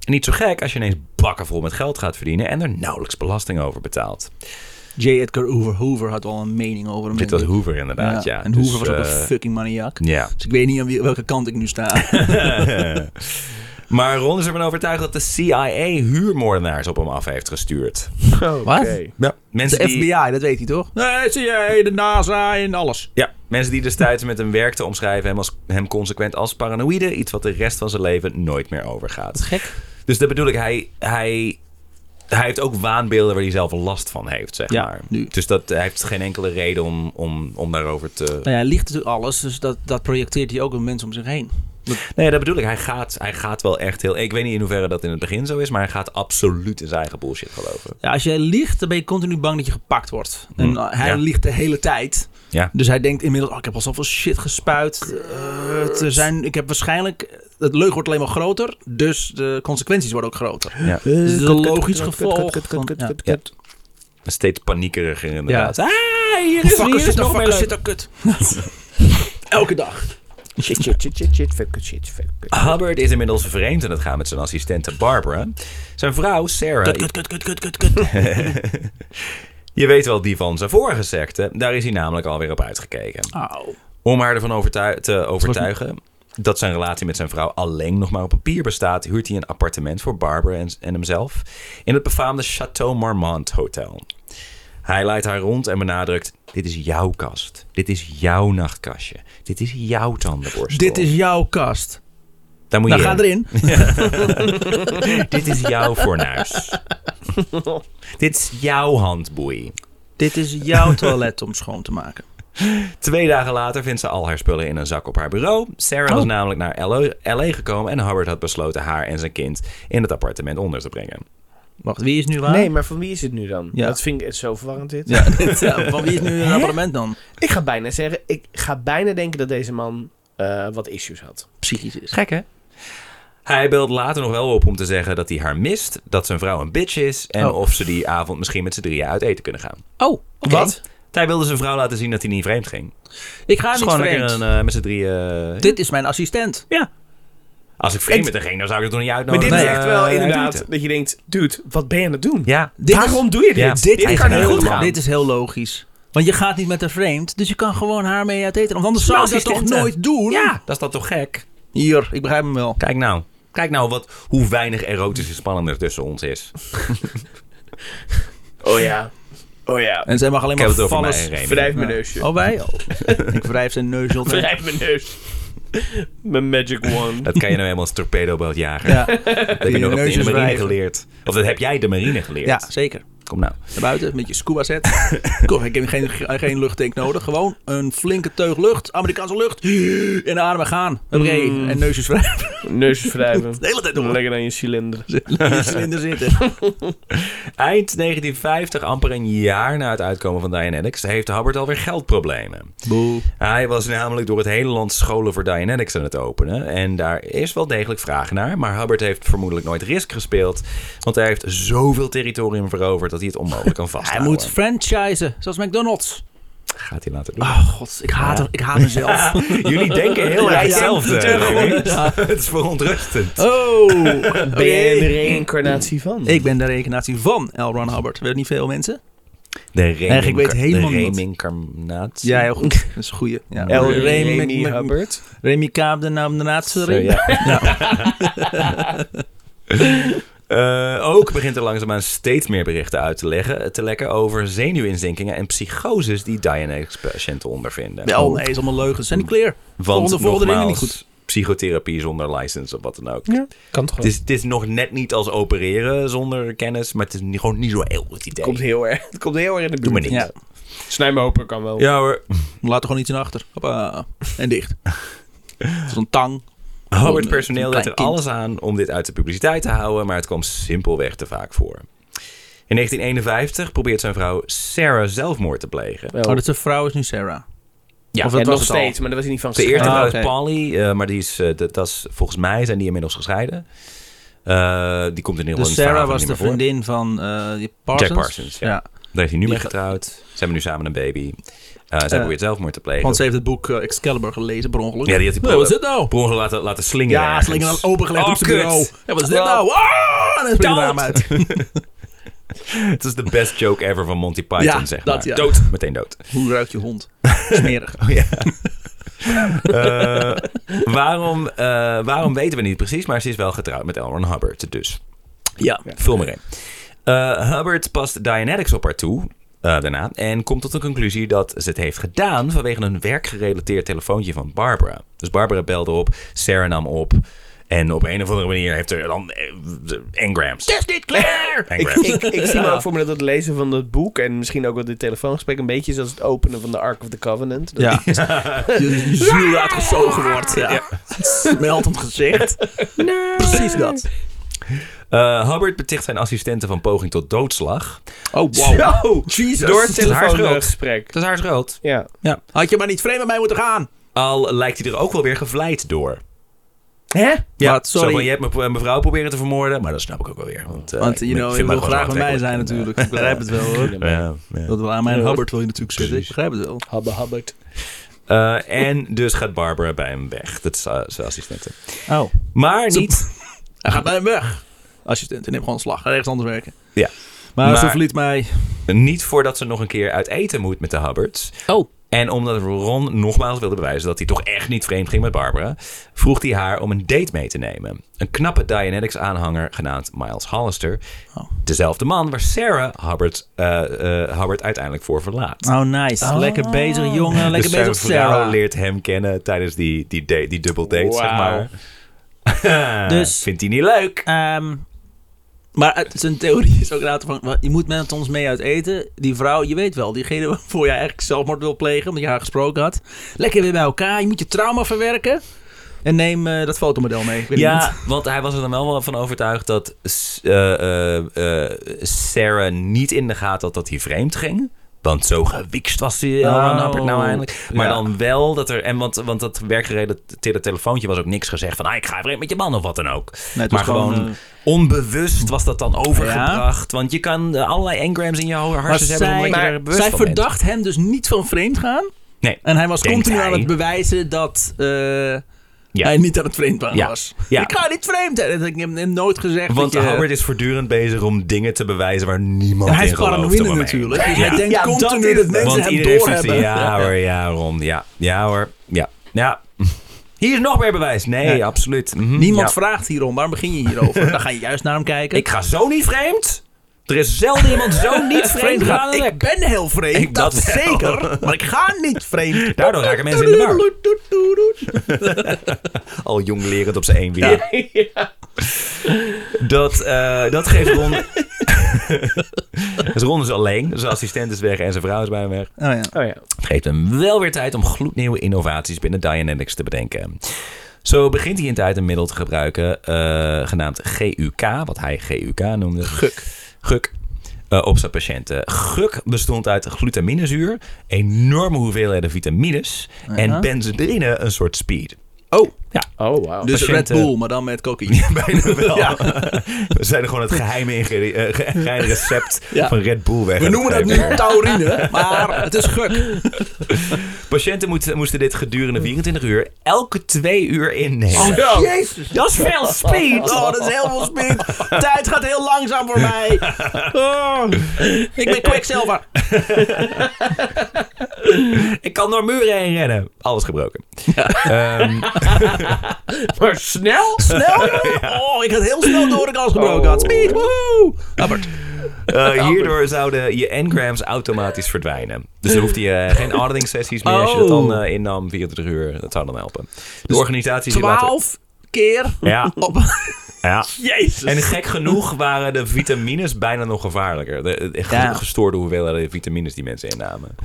niet zo gek als je ineens bakken vol met geld gaat verdienen en er nauwelijks belasting over betaalt.
J. Edgar Hoover, Hoover had al een mening over hem.
Dit was
denk ik.
Hoover inderdaad, ja.
En
Dus,
Hoover was ook
eh,
een fucking maniak.
Ja.
Dus ik weet niet aan wie- welke kant ik nu (laughs) sta.
(laughs) maar Ron is ervan overtuigd dat de CIA huurmoordenaars op hem af heeft gestuurd.
Oké.
Ja. Mensen
De
die-
FBI, dat weet hij toch? Nee, zie jij, de NASA en alles.
Ja, mensen die destijds met hun werk te omschrijven hem, als, hem consequent als paranoïde. Iets wat de rest van zijn leven nooit meer overgaat.
Gek.
Dus dat bedoel ik, hij, hij, hij heeft ook waanbeelden waar hij zelf last van heeft, zeg
Ja,
maar.
nu.
Dus dat, hij heeft geen enkele reden om, om, om daarover te...
Nou ja, hij ligt natuurlijk alles, dus dat, dat projecteert hij ook op mensen om zich heen.
Nee, dat bedoel ik, hij gaat, hij gaat wel echt heel... Ik weet niet in hoeverre dat in het begin zo is, maar hij gaat absoluut in zijn eigen bullshit geloven.
Ja, als jij liegt, dan ben je continu bang dat je gepakt wordt. En uh, hij
ja.
liegt de hele tijd.
Ja.
Dus hij denkt inmiddels, oh, ik heb al zoveel shit gespuit. Eh, het zijn, ik heb waarschijnlijk... Het leugen wordt alleen maar groter, dus de consequenties worden ook groter.
Ja.
Dus het is een logisch
Kut, kut,
gevolg.
kut, kut, kut,
van-
kut,
ja.
kut, kut.
Steeds paniekeriger inderdaad.
Ja.
Ah, hier is, hier
Fucker
is
zit er,
nog meer
fucker
leuk.
zit er, oh, (laughs) kut. Elke dag.
Shit, shit, shit, shit, shit, fuck, shit, fuck.
Hubbard is inmiddels vreemd aan het gaan met zijn assistente Barbara. Zijn vrouw, Sarah...
Kut, kut, kut, kut, kut, kut, kut.
Je weet wel die van zijn vorige secte, daar is hij namelijk alweer op uitgekeken.
(laughs) Au.
Om haar ervan overtu- te overtuigen dat zijn relatie met zijn vrouw alleen nog maar op papier bestaat, huurt hij een appartement voor Barbara en, en hemzelf in het befaamde Chateau Marmont Hotel. Hij leidt haar rond en benadrukt: Dit is jouw kast. Dit is jouw nachtkastje. Dit is jouw tandenborstel.
Dit is jouw kast.
Oh, Daar moet
Nou,
je
ga
in. (laughs)
erin.
Dit is jouw (laughs) fornuis. Dit is jouw handboei.
Dit is jouw toilet om schoon te maken.
Twee dagen later vindt ze al haar spullen in een zak op haar bureau. Sarah was namelijk naar LA, gekomen en Hubbard had besloten haar en zijn kind in het appartement onder te brengen.
Wacht, wie is nu waar?
Nee, maar van wie is het nu dan?
Ja.
Dat vind ik zo verwarrend
(laughs)
dit.
Ja, dit, ja, van wie is nu een appartement dan?
Ik ga bijna zeggen, ik ga bijna denken dat deze man eh, wat issues had.
Psychisch is.
Gek hè? Hij belt later nog wel op om te zeggen dat hij haar mist, dat zijn vrouw een bitch is en
Oh.
of ze die avond misschien met z'n drieën uit eten kunnen gaan.
Oh,
Wat?
Hij wilde zijn vrouw laten zien dat hij niet vreemd ging.
Ik ga
Dus
niet
gewoon lekker
vreemd.
een, eh, met z'n drieën.
Dit is mijn assistent.
Ja. Als ik vreemd
Ik-
met haar ging, dan zou ik het toch niet
Maar
uitnodigen.
dit is echt
eh,
wel
uit
inderdaad
eten.
dat je denkt, dude, wat ben je aan het doen?
Ja.
Dit
Waarom
is,
doe je dit?
Ja.
Dit,
Hij
is
kan niet
heel,
goed gaan.
Dit is heel logisch. Want je gaat niet met haar vreemd, dus je kan gewoon haar mee uit eten. Want anders zou
Mijn
ze dat toch
assistente.
nooit doen?
Ja, dat is dan toch gek?
Hier, ik begrijp hem wel.
Kijk nou. Kijk nou wat, hoe weinig erotische spanning er tussen ons is.
Oh ja. Oh ja.
En zij mag alleen
Ik
maar
heb het over
vallen.
mij, Remy.
Wrijf mijn neusje.
Oh, wij? Oh. (laughs) ik wrijf zijn neus heel erg.
Wrijf mijn neus. (laughs) Mijn magic wand.
Dat kan je nou helemaal als torpedobootjager.
Ja.
(laughs) dat heb je nog op de- in de
neusjes
marine
wrijven.
geleerd. Of dat heb jij de marine geleerd.
ja, zeker.
Kom nou.
Naar buiten met je scuba (laughs) set. Kom, ik heb geen, geen luchttank nodig. Gewoon een flinke teug lucht. Amerikaanse lucht. En ademen gaan. Huppakee. En neusjes vrij. (laughs)
Neusjes wrijven.
De hele tijd door.
Lekker aan je cilinder.
In cilinder (laughs) zitten.
Eind 1950, amper een jaar na het uitkomen van Dianetics, heeft Hubbard alweer geldproblemen.
Boe.
Hij was namelijk door het hele land scholen voor Dianetics aan het openen. En daar is wel degelijk vraag naar. Maar Hubbard heeft vermoedelijk nooit risk gespeeld. Want hij heeft zoveel territorium veroverd dat hij het onmogelijk kan
Hij
vasthouden.
moet franchisen. Zoals McDonald's.
Gaat hij laten doen. (laughs)
Oh god, ik haat, er- ik haat (laughs) mezelf.
Jullie denken heel
Ja,
erg
ja.
hetzelfde.
Ja,
Remy.
ja.
(laughs) Het is verontrustend.
(laughs) Oh.
Ben jij de
oké.
reïncarnatie van?
Ik ben de reïncarnatie van L. Ron Hubbard. Weet niet veel mensen?
De
Eigenlijk ik weet helemaal niet.
Remincarnatie.
Ja, heel goed. (laughs) Dat is een goeie. Ja.
El
Remy-
Remy
Mc- Mc-
Hubbard.
Remy Kaap, de naam de naatste
Zo, ja. (laughs) Eh, ook begint er langzaamaan steeds meer berichten uit te, leggen, te lekken over zenuwinzinkingen en psychoses die Dianetics-patiënten ondervinden.
Wel, nee, is allemaal leugens. Zijn die clear?
Want
volgende, volgende dingen niet
nogmaals,
goed.
psychotherapie zonder license of wat dan ook.
Kan toch
Het, is, het is nog net niet als opereren zonder kennis, maar het is niet- gewoon niet zo heel goed idee.
Komt heel erg. Het komt heel erg in de
Doe maar
buurt.
niet.
Ja,
Snijmoper kan wel.
Ja hoor.
laat er gewoon iets in achter. Hoppa. En
(laughs)
dicht. Zo'n tang.
Howard personeel deed
Klein
er
kind.
alles aan om dit uit de publiciteit te houden, maar het kwam simpelweg te vaak voor. In 1951 probeert zijn vrouw Sarah zelfmoord te plegen.
Wel.
Oh, dat zijn vrouw is nu Sarah.
Ja,
of dat
en
was
nog
het al?
steeds, maar dat was hij niet van
Ze eerst
Ah,
had
oké.
Polly, eh, maar die is, eh, dat, dat is, volgens mij zijn die inmiddels gescheiden. Eh, die komt in ieder geval
Dus
in het verhaal
Sarah
van
was
niet
de
meer voor.
vriendin van eh, die Parsons.
Jack Parsons, ja. Daar heeft hij nu
Die
mee
gaat-
getrouwd. Ze hebben nu samen een baby. Eh zij
Eh,
probeert zelfmoord te plegen.
Want ze heeft het boek eh, Excalibur gelezen, per ongeluk.
Ja, die had die
Nee, wat is dit nou?
Per ongeluk Oh, laten, laten slingeren.
Ja,
ergens.
slinger dan opengelegd
Oh,
op zijn
kut.
bureau. Ja, wat is dit
Wel,
nou? Ah, en dan springt de raam uit.
Het is de best joke ever van Monty Python,
Ja,
zeg
dat,
maar.
ja.
Dood. Meteen dood. (laughs)
Hoe ruikt je hond? Smerig.
Eh, waarom, eh, waarom weten we niet precies, maar ze is wel getrouwd met Elron Hubbard. Dus
ja.
vul maar in. Eh, Hubbard past Dianetics op haar toe eh, daarna en komt tot de conclusie dat ze het heeft gedaan vanwege een werkgerelateerd telefoontje van Barbara. Dus Barbara belde op, Sarah nam op en op een of andere manier heeft er dan eh, engrams.
Het is niet klaar!
Ik,
Engrams.
(laughs) ik, ik zie me ook voor me dat het lezen van dat boek en misschien ook wel dit telefoongesprek een beetje zoals het openen van de Ark of the Covenant. Dat-
(laughs) Ja. Je ziel uitgezogen wordt. Ja. Smeltend gezicht.
(laughs)
Precies dat.
Eh, Hubbard beticht zijn assistenten van poging tot doodslag.
Oh, wow.
Zo!
Jesus.
Door het
Dat is haar schuld.
telefoongesprek.
Dat is haar schuld.
Ja.
Ja. Had je maar niet vreemd met mij moeten gaan.
Al lijkt hij er ook wel weer gevleid door.
Hè?
Ja,
Wat,
sorry.
Zo van, je hebt me- mevrouw proberen te vermoorden, maar dat snap ik ook wel weer. Want, eh,
Want
ik
you
ben-
know, je
vind mij
wil
gewoon
graag bij mij zijn
aantrekkelijk.
natuurlijk. Ik begrijp het wel hoor.
Ja, ja.
(laughs) Dat wil aan mijn
Ja.
Hubbard wil je natuurlijk zitten. Ik
Precies.
begrijp het wel.
Habbe Hubbard.
Eh, en dus gaat Barbara bij hem weg. Dat is eh, zijn assistente.
Oh.
Maar
Ze-
niet...
Hij gaat bij hem weg. Assistent. En neem gewoon een slag. Ga ergens anders werken.
Ja.
Maar, ze
Maar-
verliet mij.
Niet voordat ze nog een keer uit eten moet met de Hubbards.
Oh.
En omdat Ron nogmaals wilde bewijzen dat hij toch echt niet vreemd ging met Barbara, vroeg hij haar om een date mee te nemen. Een knappe Dianetics-aanhanger genaamd Miles Hollister.
Oh.
Dezelfde man waar Sarah Hubbard, eh, eh, Hubbard uiteindelijk voor verlaat.
Oh, nice. Lekker bezig, jongen. Lekker
dus
bezig,
zijn vrouw
Sarah.
leert hem kennen tijdens die, die, date, die double date, zeg
Wauw.
maar. (laughs)
Dus-
Vindt hij niet leuk?
Ehm, maar het- zijn theorie is ook raad van, wa- je moet met ons mee uit eten. Die vrouw, je weet wel, diegene waarvoor jij eigenlijk zelfmoord wil plegen, omdat je haar gesproken had. Lekker weer bij elkaar, je moet je trauma verwerken. En neem eh, dat fotomodel mee. Ik weet
Ja,
niet.
want hij was er dan wel van overtuigd dat S- eh, eh, eh, Sarah niet in de gaten had dat hij vreemd ging. Want zo gewikst was hij
Oh,
Ron Hubbard nou eindelijk. Maar
ja.
dan wel dat er... En want, want dat werkgerelateerde telefoontje was ook niks gezegd van... Ah, ik ga vreemd met je man of wat dan ook.
Nee, het was
maar gewoon,
gewoon, eh,
onbewust was dat dan overgebracht. Want je kan eh, allerlei engrams in je
Maar
hartjes hebben...
zij,
omdat je
maar
er bewust
zij
van bent.
verdacht hem dus niet van vreemd gaan.
Nee.
En hij was
Denkt
continu aan
hij.
het bewijzen dat eh,
Ja.
hij niet aan het vreemd gaan
Ja.
was.
Ja.
Ik ga niet vreemd. En Ik heb hem nooit gezegd
Want
dat je...
Howard is voortdurend bezig om dingen te bewijzen waar niemand
En hij is
in gelooft. op
paranoïde
het moment.
natuurlijk. Dus
Ja.
hij denkt
Ja, dat
continu
is
dat
het.
mensen
Want
hem
iedereen vindt,
doorhebben.
ja hoor, ja Ron, ja, ja hoor, ja, ja. (laughs) Hier is nog meer bewijs. Nee,
Ja.
absoluut. Mhm,
Niemand
ja.
vraagt hierom. Waarom begin je hierover? Dan ga je juist naar hem kijken.
Ik ga zo niet vreemd. Er is zelden iemand zo
(laughs)
niet vreemd gaan. dan
Ik
ik.
ben heel vreemd,
Ik
dat,
dat wel.
zeker. Maar ik ga niet vreemd.
Daardoor raken mensen in de war.
war.
Al jong lerend op zijn één weer. Dat, eh, dat geeft Ron... (laughs) dus Ron is alleen. Zijn assistent is weg en zijn vrouw is bij hem weg.
Oh ja.
Oh ja.
Het geeft hem wel weer tijd om gloednieuwe innovaties binnen Dianetics te bedenken. Zo begint hij in tijd een middel te gebruiken, eh, genaamd GUK, wat hij GUK noemde. Guk. Guk. eh, op zijn patiënten. Guk bestond uit glutaminezuur, enorme hoeveelheden vitamines en benzedrine, een soort speed.
Oh,
Oh, wauw.
dus
patiënten-
Red Bull, maar dan met cocaïne.
Bijna wel.
Ja.
(laughs) We zijn gewoon het geheime, ingredient- eh, ge- geheime recept
(laughs) Ja.
van Red Bull weg.
We
aan
noemen
het
dat
geven.
nu taurine, maar het is (laughs) guk.
Patiënten moesten, moesten dit gedurende 24 uur elke twee uur innemen.
Oh,
jezus.
dat is veel speed! (laughs)
Oh, dat is heel veel speed. Tijd gaat heel langzaam voor mij. Oh, ik ben kwikzilver.
Ik kan door muren heen rennen. Alles gebroken. Ehm,
(laughs) Maar snel?
Snel. (laughs) Oh, ik had heel snel door de kans gebroken had. Speed, woehoe. Albert. (laughs)
eh, hierdoor zouden je engrams automatisch verdwijnen. Dus dan hoeft hij
(laughs)
eh, geen auditing-sessies meer. Als je
Oh.
dat dan eh, innam, 24 uur, dat zou dan helpen. De
Dus
organisatie... die later-
12 keer
Ja,
op. (laughs)
ja.
Jezus.
En Dus gek genoeg waren de vitamines bijna nog gevaarlijker. De, de ge-
Ja.
gestoorde hoeveelheden vitamines die mensen innamen.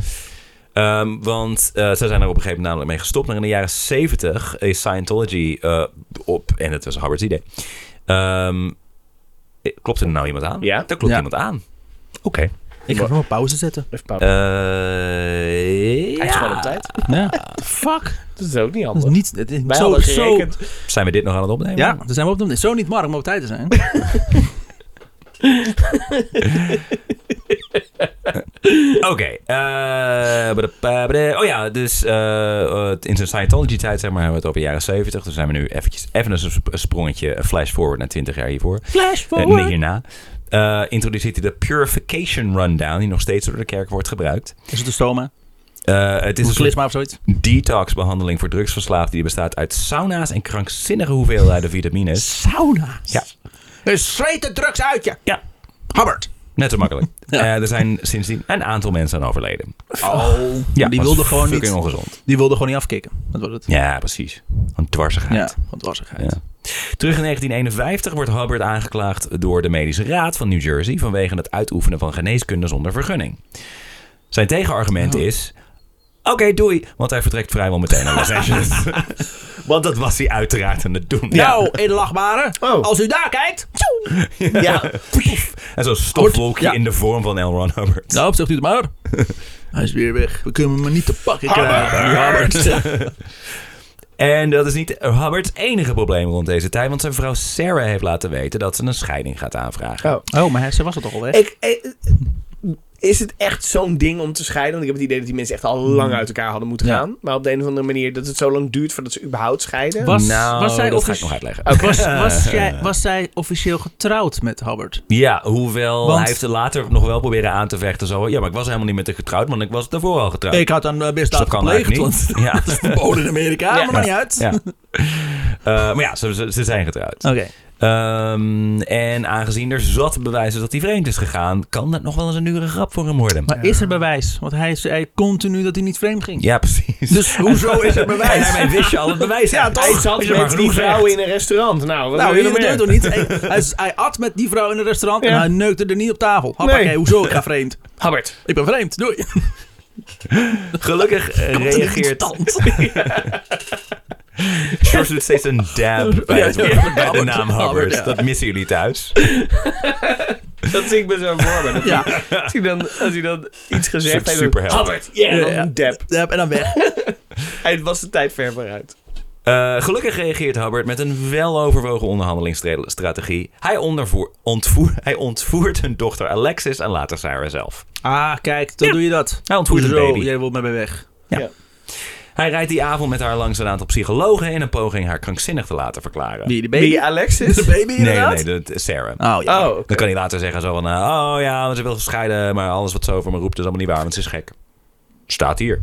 Ehm, want eh, ze zijn er op een gegeven moment namelijk mee gestopt. Maar in de jaren 70 is Scientology eh, op, en dat was Harvard's idee. Ehm, eh, klopt er nou iemand aan?
Ja.
Daar klopt
Ja.
iemand aan. Oké.
ik ga nog op pauze zetten.
Even pauze.
Eh,
Hij is gewoon
ja.
op tijd.
Ja. Ah, Fuck.
Dat is ook niet
Dat
handig.
is niet. Het is
Wij
zo,
hadden
zo.
gerekend. (laughs)
Zijn we dit nog aan het opnemen?
Ja, daar zijn we op de. Zo niet Mark om op tijd te zijn.
Oké. eh, bada- pa- bada- oh ja, dus eh, eh, in zijn Scientology-tijd, zeg maar, hebben we het over de jaren 70. Dus zijn we nu eventjes, even een sp- een sprongetje, een flash forward naar 20 jaar hiervoor.
(laughs) Flash
Eh, nee, hierna. Eh, introduceert hij de Purification Rundown, die nog steeds door de kerk wordt gebruikt.
Is het een stoma?
Eh, het is
Is
een
het
soort
klisma of zoiets?
detox-behandeling voor drugsverslaafden. Die bestaat uit sauna's en krankzinnige
(laughs)
hoeveelheden vitamines.
Sauna's.
Ja.
Dus zweet de drugs uit je.
Ja,
Habbard.
net zo makkelijk. Eh, er zijn sindsdien een aantal mensen aan overleden.
Oh.
Ja,
die
was
wilde gewoon
fucking
niet.
ongezond.
Die wilde gewoon niet afkicken. Dat was het.
Ja, precies. Een dwarsigheid.
Ja, van dwarsigheid.
Ja. Terug in 1951 wordt Hubbard aangeklaagd door de Medische Raad van New Jersey vanwege het uitoefenen van geneeskunde zonder vergunning. Zijn
Oh.
tegenargument is. Oké, doei. Want hij vertrekt vrijwel
(laughs)
meteen naar Los Angeles. want dat was hij uiteraard aan het doen.
Nou, edelachtbare,
Oh.
als u daar kijkt. tjoe. Ja.
En zo'n stofwolkje
Ja.
in de vorm van L. Ron Hubbard.
Nou, zegt u het
(laughs)
maar. Hij is weer weg. We kunnen hem niet te pakken krijgen. Habbard.
En dat is niet Hubbard's enige probleem rond deze tijd. Want zijn vrouw Sarah heeft laten weten dat ze een scheiding gaat aanvragen.
Oh.
Oh, maar hij- ze was het toch al weg?
Ik, eh, is het echt zo'n ding om te scheiden? Want ik heb het idee dat die mensen echt al lang uit elkaar hadden moeten
Ja.
gaan. Maar op de een of andere manier dat het zo lang duurt voordat ze überhaupt scheiden.
Was- zij Oh,
nou, dat ga ik
offici-
nog uitleggen.
Was, (laughs) was, jij, was zij officieel getrouwd met Habbard?
Ja, hoewel
Want-
hij heeft er later nog wel proberen aan te vechten. Zo, ja, maar ik was helemaal niet met haar getrouwd, want ik was daarvoor al getrouwd.
Ik had een uh,
Dus
misdaad gepleegd.
eigenlijk
want (laughs)
niet. (laughs) Ja.
Dat is verboden in Amerika, maar maakt niet uit.
Ja. (laughs) Eh, maar ja, ze, ze, ze zijn getrouwd.
Oké.
Ehm, en aangezien er zat bewijzen dat hij vreemd is gegaan, kan dat nog wel eens een dure grap voor hem worden.
Maar is er bewijs? Want hij zei continu dat hij niet vreemd ging.
Ja, precies.
Dus hoezo is er bewijs?
(laughs)
Nou, (laughs)
En (laughs) daarmee wist je al het bewijs.
Ja,
uit.
toch?
Hij
Als je
zat
maar
met
genoeg
die vrouw
zegt.
in een restaurant. Nou, wat
Nou,
wil je
jullie
nog
deden
meer?
toch niet? Hij, hij, hij at met die vrouw in een restaurant en
Ja.
hij neukte er niet op tafel. Hoppakee,
Nee.
hoezo? Ik ga vreemd.
Habbard.
Ik ben vreemd, doei.
Gelukkig eh,
(laughs)
reageert... George doet steeds een dab bij, het,
Ja, ja.
woord- bij de
Albert,
naam
Albert,
Hubbard.
ja.
Dat missen jullie thuis.
Dat zie ik me zo voor (laughs) me. Dat
Ja.
hij- Als hij dan, als hij dan iets gezegd
Soort
heeft.
superheld.
Habbard. Yeah,
Ja,
dan
ja.
een dab.
Ja, en dan weg.
Hij was de tijd ver vooruit.
Eh, gelukkig reageert Hubbard met een weloverwogen onderhandelingsstrategie. Hij, ondervoer- ontvoer, hij ontvoert hun dochter Alexis en later Sarah zelf.
Ah, kijk, dan
Ja.
doe je dat.
Hij ontvoert een
Hoezo?
baby.
Jij wilt met mij weg.
Hij rijdt die avond met haar langs een aantal psychologen in een poging haar krankzinnig te laten verklaren.
Wie, de baby?
Wie Alexis?
(laughs)
(laughs)
De baby
nee,
inderdaad?
nee, dat is Sarah.
Oh, ja.
Oh,
Oh.
oké.
Dan kan hij later zeggen zo van, eh, oh ja, want ze wil scheiden, maar alles wat ze over me roept is allemaal niet waar, want ze is gek. Staat hier.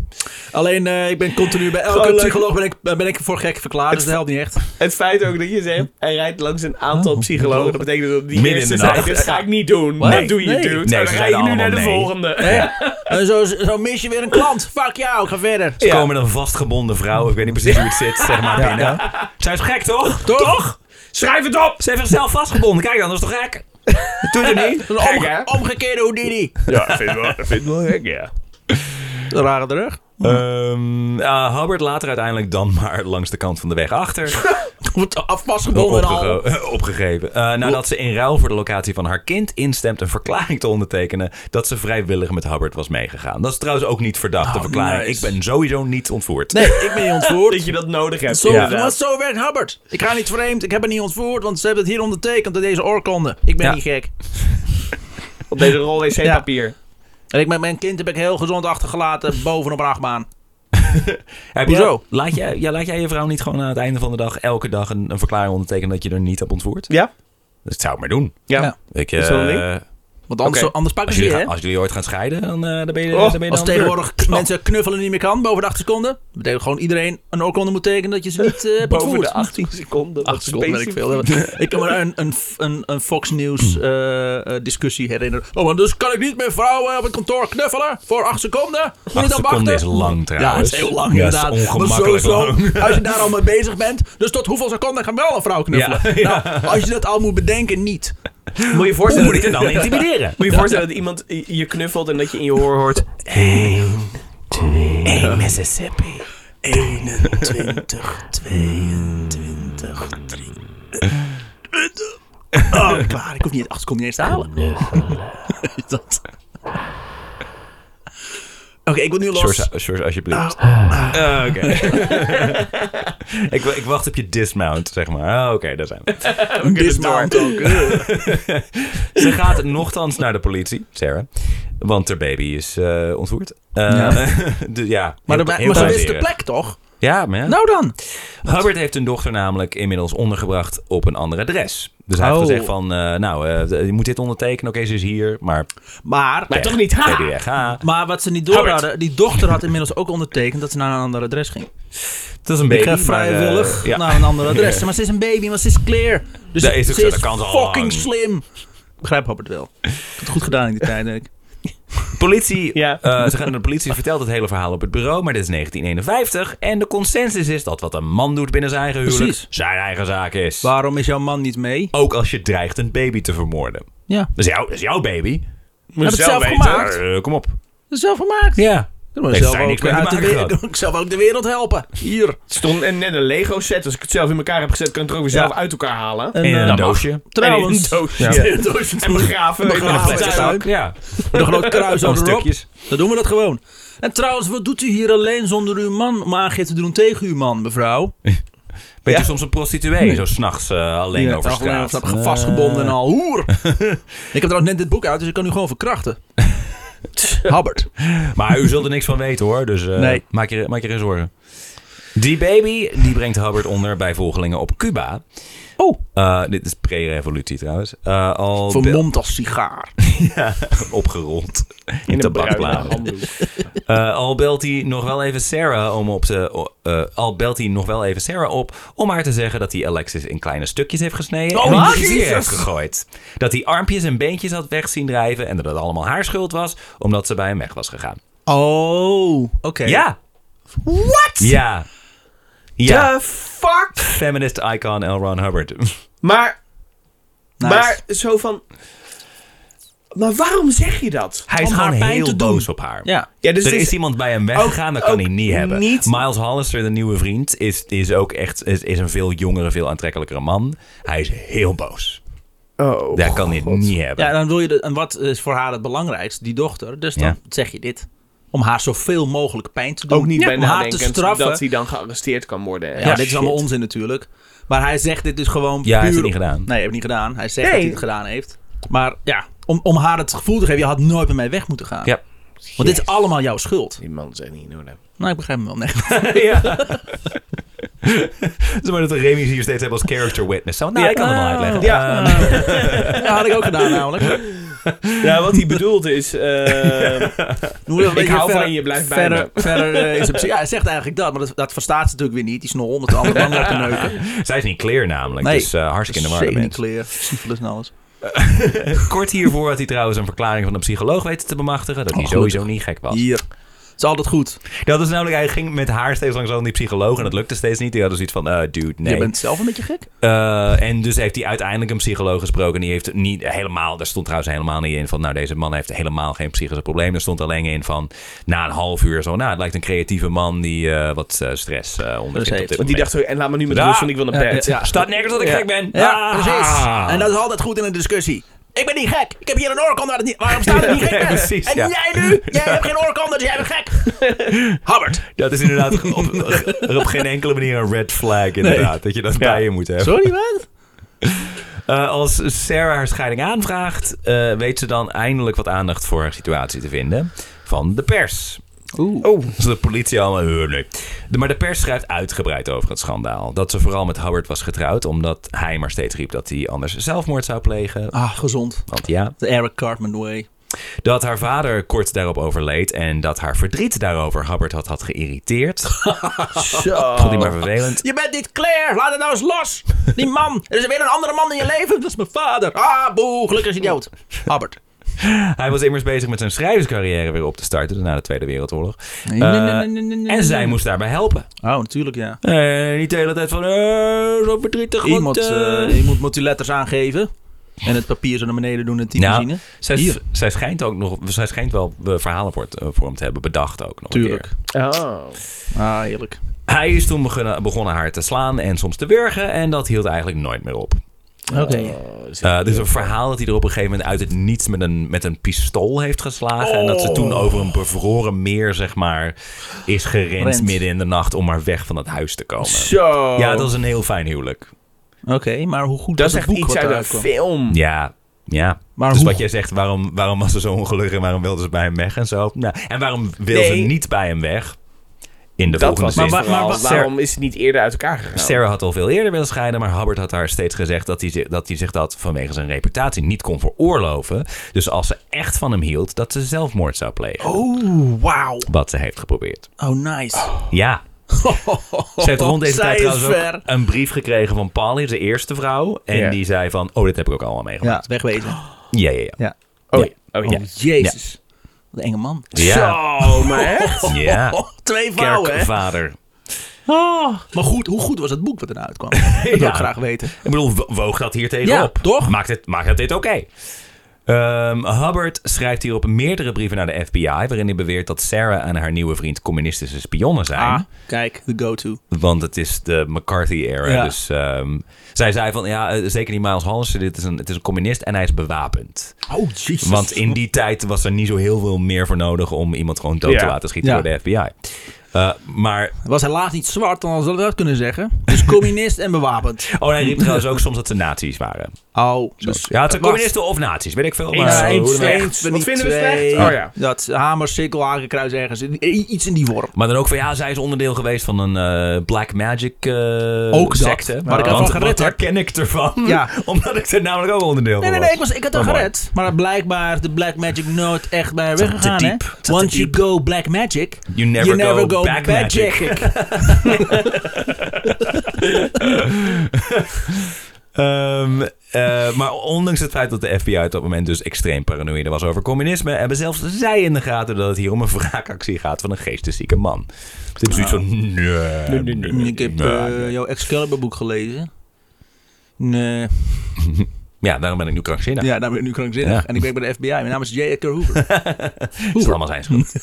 Alleen, eh, ik ben continu bij elke
Gewoon leuk.
psycholoog ben ik, eh, ben ik voor gek verklaard, dus dat helpt niet echt.
(laughs) Het feit ook dat je zegt, hij rijdt langs een aantal psychologen. Dat betekent dat die
Oh, Midden in
eerste
de
zei,
nacht.
dit ga ik niet doen.
Wat?
Dat doe je,
Nee.
dude.
Nee,
Nou,
ze
dan ga je
zeiden
nu naar de
allemaal nee.
volgende.
En Eh, zo, zo mis je weer een klant. Fuck jou, ik ga verder.
Ze komen met een vastgebonden vrouw, ik weet niet precies hoe het zit, zeg maar binnen. Zij is gek, toch?
Toch?
Schrijf het op!
Ze heeft zichzelf vastgebonden, kijk dan, dat is toch gek? Doe je niet?
Een
Gek,
omge-
Oh,
hè?
omgekeerde Houdini.
Ja, vind ik wel, vind ik wel gek, ja.
Een rare drug.
Ehm eh, Hubbard later uiteindelijk dan maar langs de kant van de weg
(laughs)
achter.
Wordt af- vastgebonden en al.
Opgege- (laughs) opgegeven. Eh, nadat ze in ruil voor de locatie van haar kind instemt een verklaring te ondertekenen dat ze vrijwillig met Hubbard was meegegaan. Dat is trouwens ook niet verdacht,
Oh,
de verklaring.
nice.
Ik ben sowieso niet ontvoerd.
Nee, ik ben niet
(laughs)
ontvoerd.
Dat je dat nodig hebt,
Zo,
inderdaad.
Want zo werkt Hubbard. Ik ga niet vreemd, ik heb het niet ontvoerd, want ze hebben het hier ondertekend in deze oorkonde. Ik ben
Ja.
niet gek.
Op deze rol wc-papier.
En ik met mijn kind heb ik heel gezond achtergelaten boven op een achtbaan.
Heb je
Hoezo?
Laat jij, ja, laat jij je vrouw niet gewoon aan het einde van de dag elke dag een, een verklaring ondertekenen dat je er niet hebt ontvoerd?
Ja?
Dat zou ik maar doen.
Ja.
Ja.
Ik,
Is dat een ding?
eh,
Want anders,
Oké.
anders pakken
als,
ze
jullie
je, hè?
gaan- als jullie ooit gaan scheiden, dan, eh, dan ben je,
Oh,
dan ben je
Als
dan aan de beurt.
tegenwoordig mensen knuffelen niet meer kan, boven de 8 seconden. Dat betekent gewoon iedereen een oorkonde moet tekenen dat je ze niet eh
Boven de
ontvoert.
18 seconden. wat
8 seconden weet ik
specifiek.
veel. (laughs) Ik kan me een, een, een, een Fox News
(clears throat)
eh, eh, discussie herinneren. Oh, maar dus kan ik niet meer vrouwen op het kantoor knuffelen voor 8 seconden? Moet ik
Acht
dan
seconden is
wachten?
lang trouwens.
Ja, het is heel lang
Ja, het is
inderdaad.
ongemakkelijk
maar sowieso,
lang. (laughs)
als je daar al mee bezig bent, dus tot hoeveel seconden gaan we wel een vrouw knuffelen?
Ja, (laughs) ja.
Nou, als je dat al moet bedenken, niet.
Moet je
Hoe
voorstellen,
moet ik het
(laughs)
dan intimideren?
moet je voorstellen dat iemand je je knuffelt en dat je in je oor hoort...
21, 22, 23. Oh, klaar. Ik hoef niet het acht seconden niet eens te halen.
(laughs)
Is dat? Oké, ik wil nu los.
Sjors, Sjors, eh, alsjeblieft.
Oh.
Ah,
(laughs)
oké. (laughs) ik, wa- ik wacht op je dismount, zeg maar. Ah, oké, daar zijn we.
Een dismount
(laughs)
ook. Eh.
Ze gaat nochtans naar de politie, Sarah. Want haar baby is eh, ontvoerd. Eh, (laughs) dus ja.
Maar,
heel-
de-
heel
maar ze wist de
plezierig.
plek toch?
Ja, man.
Nou dan.
Hubbard heeft hun dochter namelijk inmiddels ondergebracht op een ander adres. Dus hij heeft
Oh.
gezegd van, eh, nou, eh, je moet dit ondertekenen. Oké, ze is hier, maar
Maar,
Maar toch niet,
baby
ha!
weg. Ha.
maar wat ze niet door
Howard.
hadden, die dochter had inmiddels ook ondertekend dat ze naar een ander adres ging.
Het is een baby,
Ik ga
maar, eh,
vrijwillig
ja.
naar een ander
(laughs)
adres. Maar ze is een baby, maar ze is clear. Dus
Dat is ook
ze
zo,
is
dat kan ze al
fucking
lang.
slim. Begrijp Robert
(laughs)
wel. Ik heb het goed gedaan in die tijd, denk ik. (laughs)
Politie,
Ja.
eh, ze gaan naar de politie, vertelt het hele verhaal op het bureau, maar dit is 1951. En de consensus is dat wat een man doet binnen zijn eigen huwelijk,
Precies.
zijn eigen zaak is.
Waarom is jouw man niet mee?
Ook als je dreigt een baby te vermoorden.
Ja.
Dat is, jou, dat is jouw baby.
Moet
Heb
je
het zelf
weten.
gemaakt?
Eh, kom op.
Dat is zelf gemaakt.
Ja.
Dan moet ik
Heeft
zelf
zij
ook
niks
weer
mee
uit
te
de
maken
wereld, (laughs) ik zelf ook de wereld helpen. Hier.
Het stond en net een Lego set. Als ik het zelf in elkaar heb gezet, kan ik het er ook weer zelf
Ja.
uit elkaar halen.
En,
In
eh,
een doosje.
Trouwens.
En in
(laughs)
een doosje.
Ja. In een doosje.
En begraven. weet je wel,
Begraven. Plastic
in een tuin.
zak.
Ja.
Met een groot kruis
Zo'n
over erop.
stukjes.
Dan doen we dat gewoon. En trouwens, wat doet u hier alleen zonder uw man om aangifte te doen tegen uw man, mevrouw?
Bent u
Ja.
soms een prostituee, zo s'nachts eh alleen
Ja,
over
toch, alleen
straat?
op straat, Vastgebonden en al. Hoer. ik heb trouwens net dit boek uit, dus ik kan u gewoon verkrachten. Hubbard.
Maar u zult er niks van weten hoor, dus eh,
Nee.
maak, je, maak je geen zorgen. Die baby die brengt Hubbard onder bij volgelingen op Cuba.
Oh,
Eh, dit is pre-revolutie trouwens. Eh, al be-
vermomd als sigaar.
(laughs) opgerold in
In een bruine
tabakbladen.
handdoek.
Eh, al belt hij nog wel even Sarah om op te, eh, al belt hij nog wel even Sarah op om haar te zeggen dat hij Alexis in kleine stukjes heeft gesneden
Oh,
en in
wat?
de rivier
Jezus.
heeft gegooid. Dat hij armpjes en beentjes had weg zien drijven en dat het allemaal haar schuld was omdat ze bij hem weg was gegaan.
Oh, oké.
Ja,
What?
ja, ja.
The fuck?
Feminist icon L. Ron Hubbard. (laughs)
Maar,
Nice.
maar zo van... Maar waarom zeg je dat?
Hij is
Om
gewoon
haar pijn
heel
te doen.
boos op haar.
Ja.
Ja, dus
er
het
is, iemand bij hem weggegaan, dat kan
ook
hij niet hebben.
niet-
Miles Hollister, de nieuwe vriend, is, is ook echt is, is een veel jongere, veel aantrekkelijkere man. Hij is heel boos.
Oh,
Dat kan hij niet hebben.
Ja, dan wil je de, en wat is voor haar het belangrijkst? Die dochter. Dus dan
Ja.
zeg je dit. Om haar zoveel mogelijk pijn te doen.
ook niet
Ja.
bij
Om haar te
nadenkend
straffen.
dat hij dan gearresteerd kan worden.
ja, dit is allemaal onzin natuurlijk. Maar hij zegt dit dus gewoon
Ja, hij heeft
puur...
het niet gedaan.
Nee, hij heeft het niet gedaan. Hij zegt
Nee.
dat hij het gedaan heeft. Maar ja, om, om haar het gevoel te geven... je had nooit met mij weg moeten gaan.
Ja. (laughs)
Want dit is allemaal jouw schuld.
Die man zijn niet nodig.
Nou, ik begrijp hem wel. Nee.
ja. Zeg maar dat de Remy's hier steeds hebben als character witness. Zo, nou,
Ja,
ik kan het wel
nou,
uitleggen.
ja.
(laughs)
Eh,
dat had ik ook gedaan namelijk.
Ja, wat hij bedoelt is... eh,
Hoe- een beetje
hou van je, blijf bij
verder, (laughs) Verder eh, is het... Ja, hij zegt eigenlijk dat. Maar dat, dat verstaat ze natuurlijk weer niet. Die snor om het
(laughs)
andere dan te neuken.
Zij is niet clear namelijk.
Nee.
Dus eh, hartstikke in de war. de
Zeker niet
mens.
clear. Syphilis en alles.
Kort hiervoor had hij trouwens een verklaring van een psycholoog weten te bemachtigen. Dat hij
Oh,
sowieso niet gek was.
Hier. is altijd goed.
Dat is namelijk, hij ging met haar steeds langs al die psycholoog en dat lukte steeds niet. Die hadden zoiets van, eh, dude, nee.
Je bent zelf een beetje gek.
Eh, en dus heeft hij uiteindelijk een psycholoog gesproken. En die heeft niet helemaal, daar stond trouwens helemaal niet in van, nou deze man heeft helemaal geen psychische problemen. Er stond alleen in van, na een half uur zo, nou het lijkt een creatieve man die eh, wat eh, stress eh onder zit op
heeft. Want
dit
Want die
moment.
dacht, en laat me nu met
Ja.
rust, want ik wil naar bed.
ja.
Staat nergens dat ik gek ben.
Ja,
Ah.
precies. En dat is altijd goed in een discussie. Ik ben niet gek. Ik heb hier een oorkonde waar het niet- waarom staat het niet
(laughs)
gek
Ja,
bent?
precies,
En
ja.
jij nu? Jij hebt geen oorkonde, dus jij bent
(laughs)
gek. Habbert.
Dat is inderdaad op, er op geen enkele manier een red flag, inderdaad. Dat je dat bij je moet hebben.
Sorry, man.
Eh, als Sarah haar scheiding aanvraagt, eh, weet ze dan eindelijk wat aandacht voor haar situatie te vinden van de pers.
Oeh.
Oh. Dus de politie allemaal... eh, nee. De- Maar de pers schrijft uitgebreid over het schandaal. Dat ze vooral met Howard was getrouwd, omdat hij maar steeds riep dat hij anders zelfmoord zou plegen.
Ah, gezond.
Want ja,
De Eric Cartman way.
dat haar vader kort daarop overleed en dat haar verdriet daarover Hubbard had, had
(laughs)
geïrriteerd.
Zo.
Vond hij maar
Oh.
vervelend.
Je bent niet Claire. Laat het nou eens los. Die man. Er is weer een andere man in je leven. Dat is mijn vader. Ah, boe. Gelukkig is hij dood. Habbert.
Hij was immers bezig met zijn schrijverscarrière weer op te starten na de Tweede Wereldoorlog.
Nee, nee,
Eh,
nee, nee, nee, nee, nee.
En zij moest daarbij helpen.
Oh, natuurlijk, ja.
Eh, niet de hele tijd van, eh, zo verdrietig. want,
Iemand,
eh,
eh, iemand moet die letters aangeven. En het papier zo naar beneden doen en typemachine.
nou, zij,
Hier.
zij schijnt ook nog, zij schijnt wel eh, verhalen voor, het- eh, voor hem te hebben bedacht ook nog. een
Tuurlijk.
keer.
Oh.
Ah, heerlijk.
Hij is toen begonnen, begonnen haar te slaan en soms te wurgen en dat hield eigenlijk nooit meer op.
Oké.
Oh,
Eh dus een verhaal dat hij er op een gegeven moment uit het niets met een, met een pistool heeft geslagen. En dat ze toen
Oh.
over een bevroren meer, zeg maar, is gerend
Rent.
midden in de nacht om maar weg van het huis te komen.
Zo.
Ja, dat is een heel fijn huwelijk.
Oké, maar hoe goed
Dat
was
is
het
echt
boek
iets
wat
uit een
eruit kwam?
film.
Ja, ja.
Maar
dus
hoe-
wat jij zegt, waarom, waarom was ze zo ongelukkig en waarom wilde ze bij hem weg en zo? Nou, en waarom wilde ze
Nee.
niet bij hem weg? In de
Dat
volgende
was
zin.
maar,
Maar wa- maar wa-
waarom is het niet eerder uit elkaar gegaan?
Sarah had al veel eerder willen scheiden, maar Hubbard had haar steeds gezegd dat hij, zich- dat hij zich dat vanwege zijn reputatie niet kon veroorloven. Dus als ze echt van hem hield, dat ze zelfmoord zou
Oh.
plegen.
Oeh, wauw.
Wat ze heeft geprobeerd.
Oh, nice. (laughs)
Ja. Ze heeft rond deze
Zij
tijd
is
trouwens ook
ver.
een brief gekregen van Polly, de eerste vrouw. En
Ja.
die zei van, oh, dit heb ik ook allemaal
Ja,
meegemaakt.
wegwezen.
Ja, ja, ja.
Ja.
Oh, ja. oh,
Oh,
ja.
jezus. Wat een enge man.
Ja.
Zo, maar echt?
ja.
Oh, twee vrouwen, hè?
Kerkvader.
Maar goed, hoe goed was het boek wat eruit (laughs) kwam? Dat wil
Ja.
ik graag weten.
Ik bedoel, wo- woog dat hier tegenop?
Ja, toch?
Maakt het, maakt het dit oké? Ehm, Hubbard schrijft hierop meerdere brieven naar de FBI... waarin hij beweert dat Sarah en haar nieuwe vriend communistische spionnen zijn.
Ah, kijk, de go-to.
Want het is de McCarthy-era.
Ja.
Dus ehm, zij zei van, ja, eh, zeker die Miles Hansen, dit is een, het is een communist en hij is bewapend.
Oh, jezus.
Want in die tijd was er niet zo heel veel meer voor nodig... om iemand gewoon dood
Ja.
te laten schieten
Ja.
door de FBI. Eh, maar
Was helaas niet zwart, dan hadden we dat kunnen zeggen. Dus communist en
(laughs)
bewapend.
oh, hij riep trouwens ook soms dat ze nazi's waren.
Oh, dus...
Ja, het zijn
Wacht.
communisten of nazi's, weet ik veel. Maar,
Ja,
Zo,
eens
hoe dan
slecht,
ook.
we
Wat
niet
vinden we
twee.
slecht? Oh, ja.
Dat hamer, sikkel, hakenkruis ergens. I- i- Iets in die worm.
Maar dan ook van ja, zij is onderdeel geweest van een eh, black magic eh
Ook dat,
secte.
waar ik
Want-
ervan gered
want daar
heb.
ken ik ervan.
Ja.
(laughs) Omdat ik er namelijk ook onderdeel
Nee,
van
nee, nee, ik, was, ik had hem
Oh, mooi.
gered. Maar blijkbaar is de Black Magic nooit echt bij haar
Zat te
weggegaan, hè?
diep. Zat te
Once you
diep.
go Black Magic,
You never
you never
go,
go,
back
back,
magic.
magic.
(laughs) Ehm, eh, maar ondanks het feit dat de FBI op dat moment dus extreem paranoïde was over communisme, hebben zelfs zij in de gaten dat het hier om een wraakactie gaat van een geesteszieke man. Dus ik heb zoiets van. Nee, nee, nee, nee,
Ik heb
nee.
eh, jouw Excalibur boek gelezen. Nee.
Ja, daarom ben ik nu krankzinnig.
Ja, nou ben ik nu krankzinnig.
Ja.
En ik werk bij de FBI. Mijn naam is J. Edgar Hoover.
Het is allemaal zijn schuld.
(laughs)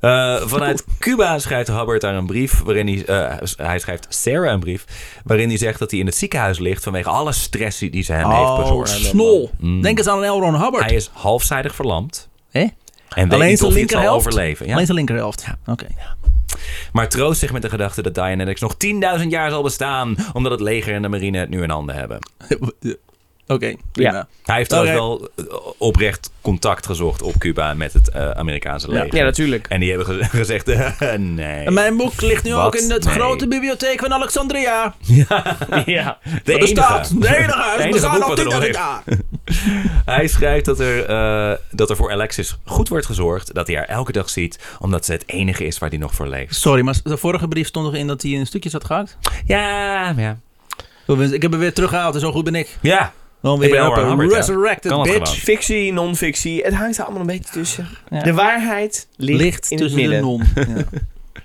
Eh, vanuit Cuba schrijft Hubbard daar een brief waarin hij, eh, hij schrijft Sarah een brief waarin hij zegt dat hij in het ziekenhuis ligt vanwege alle stress die ze hem heeft
Oh,
bezorgd.
snol. Denk eens aan een L. Ron Hubbard.
Hij is halfzijdig verlamd
Hè?
en weet
Alleen
niet
zijn
of hij het zal
linkerhelft?
overleven. Ja.
Alleen zijn linkerhelft. Oké.
Maar troost zich met de gedachte dat Dianetics nog 10.000 jaar zal bestaan omdat het leger en de marine het nu in handen hebben.
(laughs) Oké,
Ja.
prima.
Hij heeft
Oké.
trouwens wel eh, oprecht contact gezocht op Cuba met het eh, Amerikaanse leger.
Ja, natuurlijk.
En die hebben ge- (laughs) gezegd, eh, nee. (laughs)
En mijn boek ligt nu
Wat?
ook in de
Nee.
grote bibliotheek van Alexandria.
Ja.
de
Er bestaat de
(laughs)
enige huis.
Het
We
enige
bestaan
boek
al
wat er nog
10.000
ligt.
jaar.
Hij schrijft dat er, eh, dat er voor Alexis goed wordt gezorgd. Dat hij haar elke dag ziet. Omdat ze het enige is waar hij nog voor leeft.
Sorry, maar de vorige brief stond nog in dat hij in stukjes had gehakt?
Ja, ja.
Ik heb hem weer teruggehaald en dus zo goed ben ik.
Ja,
Dan weer op
ben Elmer
een
Hubbard, hè?
resurrected
Kan dat
bitch.
Fictie, non-fictie, het hangt er allemaal een beetje tussen. De waarheid ligt,
Ligt
in
tussen
het
de
midden.
non.
(laughs)
Ja.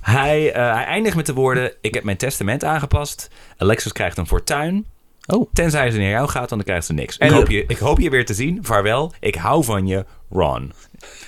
Hij, eh, hij eindigt met de woorden: Ik heb mijn testament aangepast. Alexis krijgt een fortuin.
Oh.
Tenzij ze naar jou gaat, want dan krijgt ze niks.
En
ik, hoop
de-
je, ik hoop je weer te zien. Vaarwel. Ik hou van je, Ron.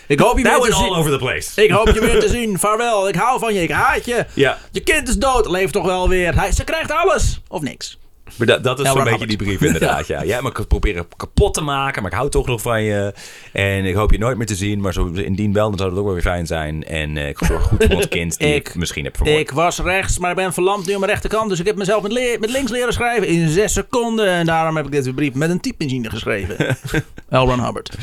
Ik hoop je weer
Now
te
it's all
zien.
Nou over the place.
Ik hoop je weer te zien. Vaarwel. Ik hou van je. Ik haat je.
Ja.
Je kind is dood. Leef toch wel weer. Hij, ze krijgt alles. Of niks.
Maar dat, dat is
Ja,
zo'n
maar
beetje die
Albert.
brief inderdaad, (laughs) ja. Jij mag het proberen kapot te maken, maar ik hou toch nog van je. En ik hoop je nooit meer te zien, maar zo, indien wel, dan zou het ook wel weer fijn zijn. En eh, ik zorg goed voor ons kind die (laughs) ik,
Ik-
misschien heb vermoord.
Ik was rechts, maar ik ben verlamd nu aan mijn rechterkant. Dus ik heb mezelf met, le- met links leren schrijven in zes seconden. En daarom heb ik deze brief met een typemachine
(laughs)
geschreven. L. Ron Hubbard.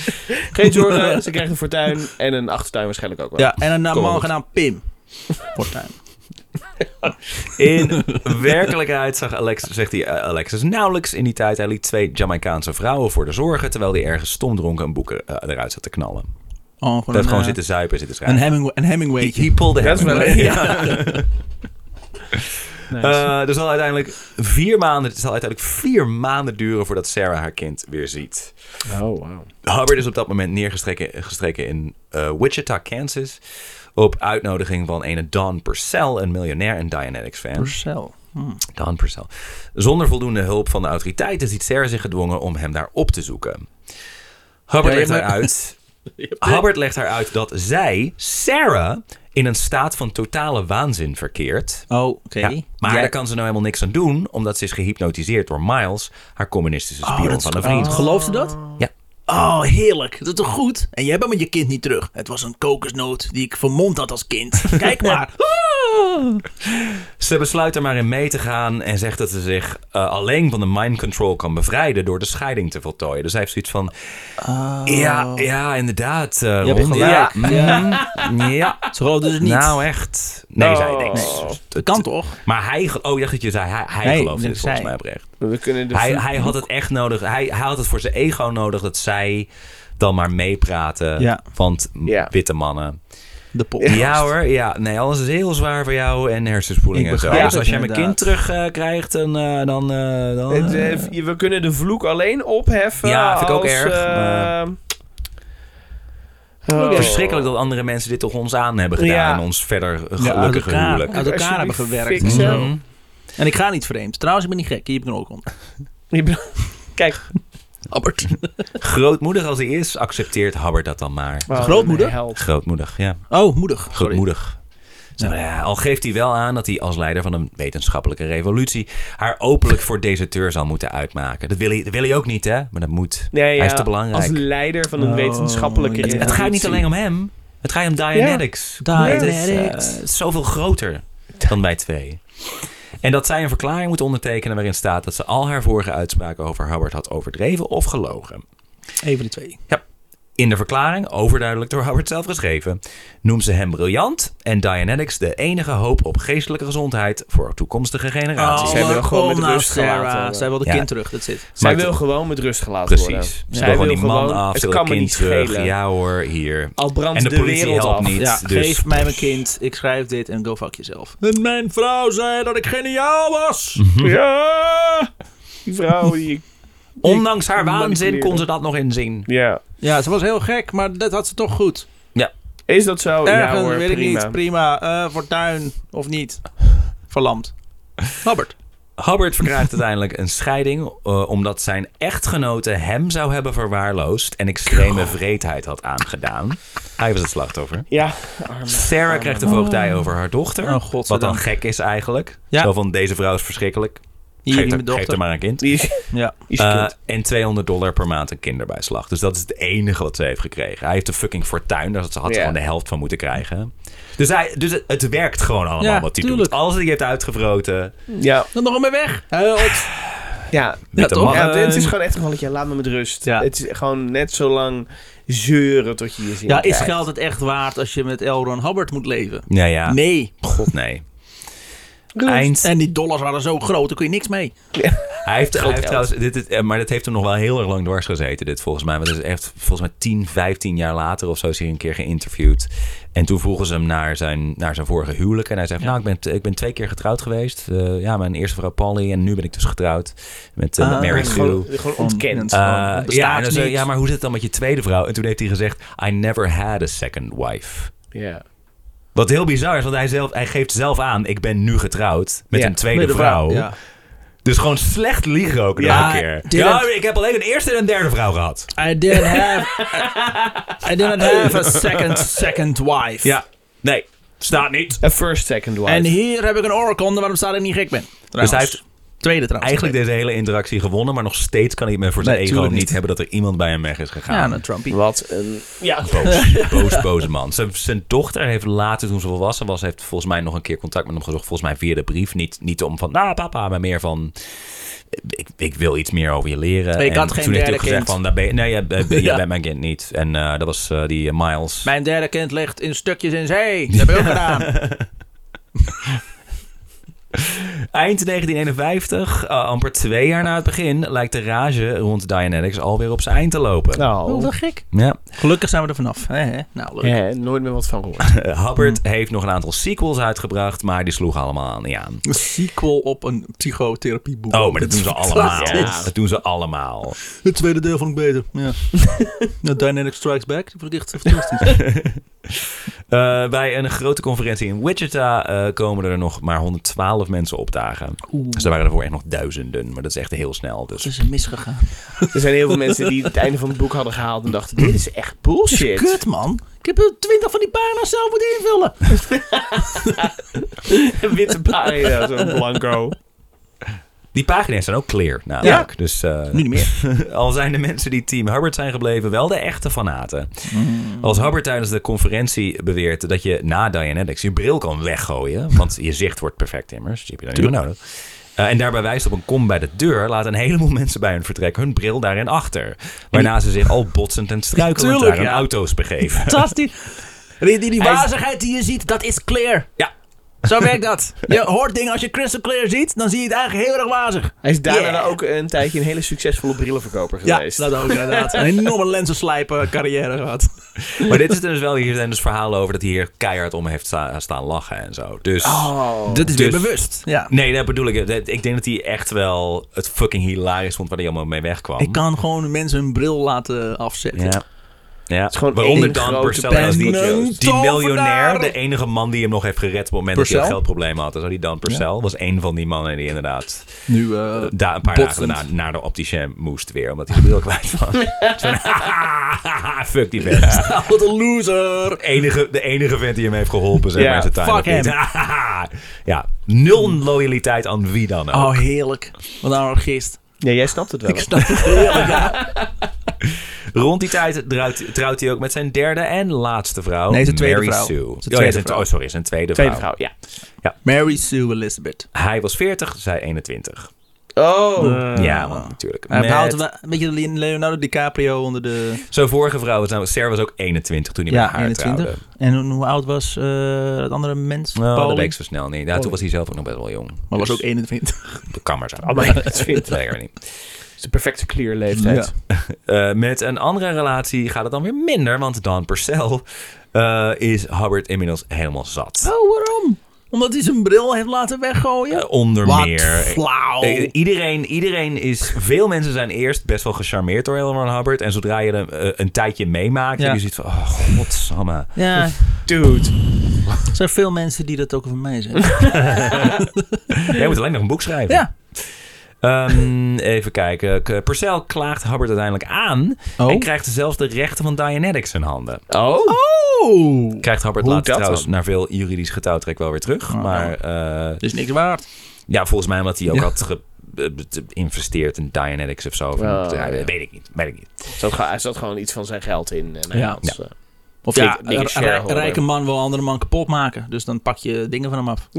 Geen zorgen, (laughs) ze krijgt een fortuin en een achtertuin waarschijnlijk ook wel.
Ja, en een eh, man
Correct.
genaamd Pim. Fortuin.
In werkelijkheid zag Alex, zegt hij, eh, Alexis nauwelijks in die tijd. Hij liet twee Jamaicaanse vrouwen voor de zorgen, terwijl hij ergens stomdronken een boek er- eh, eruit zat te knallen.
Oh,
Dat
een,
gewoon
eh,
zitten zuipen, zitten
Een,
schrijven.
Hemingway, een Hemingway.
He pulled the
Dat is wel
Hemingway.
(laughs)
leuk.
(laughs) Ja. Eh, er zal uiteindelijk vier maanden, het zal uiteindelijk vier maanden duren voordat Sarah haar kind weer ziet.
Oh, wow.
Hubbard is op dat moment neergestreken gestreken in eh, Wichita, Kansas. Op uitnodiging van ene Don Purcell, een miljonair en Dianetics-fan.
Purcell. Hmm.
Don Purcell. Zonder voldoende hulp van de autoriteiten ziet Sarah zich gedwongen om hem daar op te zoeken. Hubbard
Ja, je
legt haar
hebt- (laughs)
uit. Hubbard legt haar uit dat zij, Sarah, in een staat van totale waanzin verkeert.
Oh, oké.
Ja, maar
Jij-
daar kan ze nou helemaal niks aan doen, omdat ze is gehypnotiseerd door Miles, haar communistische
Oh,
spion
dat is-
van een vriend.
oh, Geloofde dat?
Ja.
Oh, heerlijk. Dat is toch goed? En jij bent met je kind niet terug. Het was een kokosnoot die ik vermomd had als
(laughs)
kind. Kijk maar.
Ze besluit er maar in mee te gaan en zegt dat ze zich eh, alleen van de mind control kan bevrijden door de scheiding te voltooien. Dus hij heeft zoiets van, ja, ja, inderdaad. eh, Ron, ja,
gelijk. (laughs)
mm, ja.
Ze geloofden dus niet.
Nou, echt. Nee,
Oh.
zei niks.
dat kan toch?
Maar hij, ge- oh, ik dacht dat je zei, hij, hij
Nee,
geloofde
dat
dit volgens
zei-
mij oprecht.
We kunnen de
Hij, hij had het echt nodig. Hij, hij had het voor zijn ego nodig dat zij dan maar meepraten.
Ja.
Want m-
Ja.
witte mannen.
De pop.
Ja hoor, ja. Nee, alles is heel zwaar voor jou en hersenspoeling
Ik
en zo.
begrijp
Dus
het
als jij mijn kind
inderdaad.
terugkrijgt, dan... eh, dan, eh, dan
Het,
eh,
eh, je- we kunnen de vloek alleen opheffen.
Ja, vind ik ook
als,
erg,
eh,
maar-
Oh.
Verschrikkelijk dat andere mensen dit toch ons aan hebben gedaan.
Ja.
En ons verder
Ja, uit
gelukkige
elkaar.
huwelijk.
Uit elkaar hebben
Alsjeblieft,
gewerkt.
fix hem.
Mhm.
En ik ga niet vreemd. Trouwens, ik ben niet gek. Hier heb ik een ook om.
(laughs)
Je bent- Kijk,
Albert.
Grootmoedig als hij is, accepteert Habbard dat dan maar.
Wow,
grootmoeder?
een held.
Grootmoedig, ja.
Oh, moedig. Sorry.
Grootmoedig. Zeg maar, ja, al geeft hij wel aan dat hij als leider van een wetenschappelijke revolutie haar openlijk voor deserteur zal moeten uitmaken. Dat wil hij, dat wil hij ook niet, hè? Maar dat moet.
Nee, ja,
hij is te belangrijk.
Als leider van een
Oh,
wetenschappelijke
ja.
het, het gaat niet alleen om hem. Het gaat om Dianetics.
Ja.
Het is, eh,
Dianetics.
het is zoveel groter dan wij twee. En dat zij een verklaring moet ondertekenen waarin staat dat ze al haar vorige uitspraken over Hubbard had overdreven of gelogen.
Even de twee.
In de verklaring, overduidelijk door Howard zelf geschreven, noemt ze hem briljant en Dianetics de enige hoop op geestelijke gezondheid voor toekomstige generaties.
ze hebben hem gewoon met
Alma
rust
Oh, Sarah.
gelaten. eh.
Zij wil de
Ja.
kind terug, dat zit.
Zij
Maar
wil gewoon met rust gelaten worden.
Precies. Ze
Zij
wil van
wil
die man
gewoon-
af,
het
ze wil
kan
het
me
kind
niet
terug.
schelen.
Ja hoor, hier.
Al brandt
En de politie
wereld
helpt
af.
niet.
Ja,
dus
geef mij mijn kind. Ik schrijf dit en go fuck jezelf. En mijn vrouw zei dat ik geniaal was.
Ja! Die vrouw die...
ondanks haar waanzin
Manipuleren.
kon ze dat nog inzien.
Ja.
Ja, ze was heel gek, maar dat had ze toch goed.
Is dat zo?
Ergens,
Oh, ja hoor,
weet
prima.
ik niet. Prima. Eh, fortuin of niet. Verlamd. Robert.
Hubbard verkrijgt uiteindelijk een scheiding eh, omdat zijn echtgenote hem zou hebben verwaarloosd en extreme vreedheid had aangedaan. Hij was het slachtoffer.
Ja.
Sarah krijgt de voogdij over haar dochter.
Oh, godzijdank.
wat dan gek is eigenlijk.
Ja.
Zo van, deze vrouw is verschrikkelijk.
Hier,
geef,
die
haar,
mijn dochter.
geef haar maar een kind.
Die is, die
Ja.
is
Eh,
kind.
en 200 dollar per maand een kinderbijslag. Dus dat is het enige wat ze heeft gekregen. Hij heeft een fucking fortuin. Daar had ze
Ja.
gewoon de helft van moeten krijgen. Dus, hij, dus het, het werkt gewoon allemaal
Ja,
wat hij
tuurlijk.
doet. Alles die hij heeft uitgevroten.
Ja.
Dan nog een weg. Huilt.
Ja. Eh,
toch? Eh,
Met de mannen.
Ja, het, het is gewoon echt gewoon dat je laat me met rust.
Ja.
Het is gewoon net zo lang zeuren tot je je zin
Ja, is
krijgt.
geld het echt waard als je met Elron Hubbard moet leven?
Nou ja,
Nee.
god nee. Eind
En die dollars waren zo groot, daar kun je niks mee.
Hij heeft, hij heeft
geld.
trouwens, dit, is- eh, maar dat heeft hem nog wel heel erg lang dwars gezeten, dit volgens mij. Want dat is echt volgens mij 10, 15 jaar later of zo is hij een keer geïnterviewd. En toen vroegen ze hem naar zijn, naar zijn vorige huwelijk. En hij zegt, nou, ik ben, t- ik ben twee keer getrouwd geweest. Eh, ja, mijn eerste vrouw Polly. En nu ben ik dus getrouwd met eh,
Ah,
met Mary Sue.
Gewoon, gewoon ontkend.
Eh,
Gewoon, het bestaat
ja, en dan zei-
niet.
ja, maar hoe zit het dan met je tweede vrouw? En toen heeft hij gezegd, I never had a second wife.
ja.
Wat heel bizar is, want hij, zelf, hij geeft zelf aan, ik ben nu getrouwd met
Ja,
een tweede
Met de
vrouw.
Ja.
Dus gewoon slecht liegen ook
Ja,
nog een keer.
dit-
Ja, ik heb alleen een eerste en een derde vrouw gehad.
I didn't have... I
(laughs)
didn't have a second, second wife.
Nee, staat niet.
A first, second wife.
En hier heb ik een oorkonde waarom staat ik niet gek ben. Trouwens.
Dus hij heeft
Tweede trouwens.
Eigenlijk deze hele interactie gewonnen, maar nog steeds kan hij het me voor zijn
Nee,
ego
tuurlijk
niet,
niet.
hebben dat er iemand bij hem weg is
Ja,
gegaan.
een Trumpie.
Wat een... Ja,
boos, boos, boze man. Zijn, zijn dochter heeft later, toen ze volwassen was, heeft volgens mij nog een keer contact met hem gezocht. Volgens mij via de brief. Niet, niet om van, nou papa, maar meer van, ik, ik wil iets meer over je leren.
Ik had
En
geen
toen heeft
derde
hij ook gezegd
kind.
van, daar ben je, nee, jij, ben-
(laughs)
jij
Ja.
bent mijn kind niet. En eh, dat was eh, die eh, Miles.
Mijn derde kind ligt in stukjes in
(laughs)
zee. Dat heb ik ook gedaan.
Eind 1951, eh, amper twee jaar na het begin, lijkt de rage rond Dianetics alweer op zijn eind te lopen.
Oh,
nou...
wat gek.
Ja. (laughs)
Gelukkig zijn we er vanaf. Hè, hè? Nou, leuk.
Hè, nooit meer wat van gehoord.
Eh, Hubbard heeft nog een aantal sequels uitgebracht, maar die sloegen allemaal aan- niet aan.
Een sequel op een psychotherapieboek.
Oh, maar
(laughs)
dat doen ze allemaal.
fantastisch.
Ja.
Dat doen ze allemaal.
Het tweede deel vond ik beter.
(laughs)
Ja. Ja, Dynamic Strikes Back. Dat vond ik echt fantastisch.
Eh, bij een grote conferentie in Wichita eh, komen er nog maar 112 mensen opdagen. Dus er waren ervoor echt nog duizenden, maar dat is echt heel snel. Dus.
is misgegaan.
(laughs) Er zijn heel veel mensen die het einde van het boek hadden gehaald en dachten, dit is echt bullshit.
Kut, man. Ik heb er twintig van die pagina's zelf moeten invullen.
Een (laughs) witte pagina, zo'n blanco.
Die pagina's zijn ook clear namelijk. Dus, eh,
Nu niet (laughs) meer.
(laughs) Al zijn de mensen die Team Hubbard zijn gebleven wel de echte fanaten.
Mm.
Als Hubbard tijdens de conferentie beweert dat je na Dianetics je bril kan weggooien. Want je zicht wordt perfect immers. Die heb je dan niet meer nodig. Eh, en daarbij wijst op een kom bij de deur. Laat een heleboel (laughs) mensen bij hun vertrek hun bril daarin achter. Waarna ze zich al botsend en struikelend
Tuurlijk,
naar hun
ja.
auto's begeven.
Fantastisch. Die, die, die
Hij is-
wazigheid die je ziet, dat is clear.
Ja.
Zo werkt dat. Je hoort dingen, als je crystal clear ziet, dan zie je het eigenlijk heel erg wazig.
Hij is daarna
Yeah.
ook een tijdje een hele succesvolle brillenverkoper
Ja,
geweest.
dat ook inderdaad. Een enorme lenzenslijpen carrière gehad.
Maar dit is dus wel, hier zijn dus verhalen over dat hij hier keihard om heeft sta- staan lachen en zo. Dus...
Oh.
Dat is
weer
bewust. Ja.
Nee, dat bedoel ik. Dat- Ik denk dat hij echt wel het fucking hilarisch vond waar hij allemaal mee wegkwam.
Ik kan gewoon mensen hun bril laten afzetten.
Ja. Ja.
is gewoon
Waaronder
één
dan
grote
Purcell als die,
panic.
die miljonair,
Tovenaar.
de enige man die hem nog heeft gered op het moment dat hij
Purcell?
een geldprobleem had. Dat was die Dan Purcell. Was een van die mannen die inderdaad
Nu, eh,
(laughs) da- een paar
Botsend.
dagen daarna naar de opticien moest weer. Omdat hij de bril kwijt was. (laughs) Zo'n Fuck die vent.
wat een loser.
Enige, de enige vent die hem heeft geholpen zeg
Ja,
maar, in zijn time.
fuck
of need. (laughs) ja, nul loyaliteit aan wie dan ook.
Oh, heerlijk. Wat een anarchist.
Ja, jij snapt het wel.
Ik snap het heerlijk, ja.
Rond die tijd trouwt, trouwt hij ook met zijn derde en laatste vrouw.
Nee, zijn tweede
Mary
vrouw.
Sue.
Zijn
Oh, ja,
tweede
zijn-
vrouw.
Oh, sorry, zijn tweede,
Tweede
vrouw.
vrouw, ja.
Mary Sue Elizabeth.
Hij was 40, zij 21.
Oh.
ja, man, natuurlijk.
Ah. Hij
Met-
behoudt wel- een beetje Le- Leonardo DiCaprio onder de...
Zijn vorige vrouw, was namelijk- Sarah was ook 21 toen hij met
Ja,
haar 21.
21. En hoe- hoe oud was eh dat andere mens?
Nou, dat
Paul?
weet ik zo snel niet. Ja, toen
Paulie.
was hij zelf ook nog best wel jong.
Maar was
Dus
ook 21.
(laughs) Dat kan maar zijn. (laughs)
Oh, maar dat vindt het
Nee, ik weet niet.
is de perfecte clear leeftijd.
Eh, met een andere relatie gaat het dan weer minder, want Dan Purcell eh, is Hubbard inmiddels helemaal zat.
Oh, waarom? Omdat hij zijn bril heeft laten weggooien?
Eh, onder
Wat
meer.
flauw.
Eh, iedereen, iedereen is. Veel mensen zijn eerst best wel gecharmeerd door Elmer Hubbard. En zodra je hem eh, een tijdje meemaakt,
Ja.
heb je ziet van: oh,
(laughs)
godsamme.
Ja,
Dude.
er zijn veel mensen die dat ook over mij
(laughs)
zeggen.
Jij moet alleen nog een boek schrijven.
Ja.
Ehm, even kijken. K- Purcell klaagt Hubbard uiteindelijk aan.
Oh.
En krijgt zelfs de rechten van Dianetics in handen.
Oh.
Oh!
Krijgt Hubbard
Hoe
later
dat
trouwens
dan?
naar veel juridisch getouwtrek wel weer terug.
Oh.
Maar eh,
Dat is niks waard.
ja, volgens mij omdat hij ook
Ja.
had ge- eh, geïnvesteerd in Dianetics of zo. Of een
Oh,
bedrijf.
ja.
Weet ik niet. Weet ik niet.
Er zat, ge- er zat gewoon iets van zijn geld in. En hij
Ja. Oh,
had, eh,
Of
Dik-
ja,
dikke
een rij-
shareholder.
rijke man wil andere man kapot maken. Dus dan pak je dingen van hem af.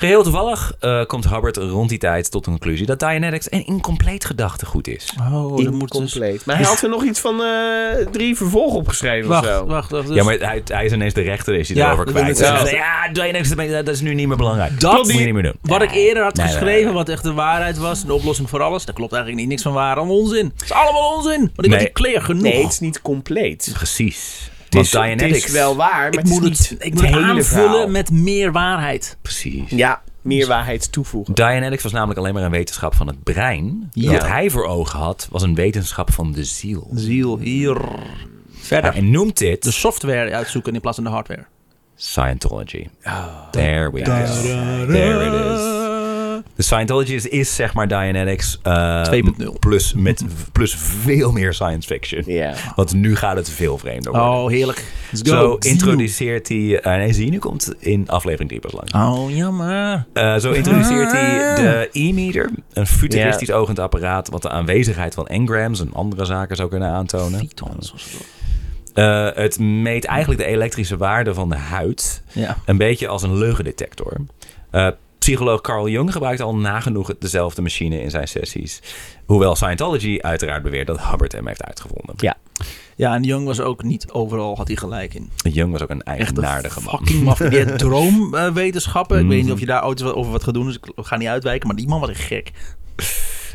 Geheel toevallig eh, komt Hubbard rond die tijd tot de conclusie dat Dianetics een incompleet gedachtegoed is.
Oh, dan moet dus...
Incompleet. Maar hij had er nog iets van eh, drie vervolgen opgeschreven of
Wacht,
zo.
wacht, wacht. dus-
Ja, maar hij, hij is ineens de rechter, is hij
Ja,
erover
dat wil ik
kwijt.
net
Ja,
zeggen.
ja Dianetics, dat is nu niet meer belangrijk.
Dat
moet je niet meer doen.
Wat ik eerder had
Nee, nee,
geschreven,
nee.
wat echt de waarheid was, de oplossing voor alles, daar klopt eigenlijk niet niks van waar. Allemaal onzin. Het is allemaal onzin. Want ik
Nee.
had die kleur genoeg.
Nee, het is niet compleet.
Precies.
Het
Want
is, het
Dianetics...
is wel waar, maar
ik
het is
moet het,
niet
ik moet het
hele
aanvullen
verhaal.
met meer waarheid.
Precies.
Ja, meer waarheid toevoegen.
Dianetics was namelijk alleen maar een wetenschap van het brein.
Ja.
Wat hij voor ogen had, was een wetenschap van de ziel.
Ziel, hier. Verder.
Hij noemt dit
De software uitzoeken in plaats van de hardware.
Scientology.
Ah.
There we go. There it is. De Scientology is, is zeg maar Dianetics eh,
2.0.
Plus, met, plus veel meer science fiction.
Ja.
Want nu gaat het veel vreemder worden.
Oh, heerlijk. Let's
Zo
go.
introduceert hij... eh, nee, zie je, nu komt in aflevering 3 pas lang.
Oh, jammer.
Eh, zo introduceert hij de e-meter. Een futuristisch ogend apparaat... wat de aanwezigheid van engrams en andere zaken zou kunnen aantonen.
Pythons of zo.
Eh, het meet eigenlijk de elektrische waarde van de huid.
Ja.
Een beetje als een leugendetector. Eh, psycholoog Carl Jung gebruikt al nagenoeg het- dezelfde machine in zijn sessies. Hoewel Scientology uiteraard beweert dat Hubbard hem heeft uitgevonden.
Ja.
Ja, en Jung was ook niet overal, had hij gelijk in.
Jung was ook een
Echt een
eigenaardige man.
fucking maf. Die
(laughs)
had droomwetenschappen. Ik weet niet of je daar ooit wat- over wat gaat doen, dus ik ga niet uitwijken. Maar die man was echt gek.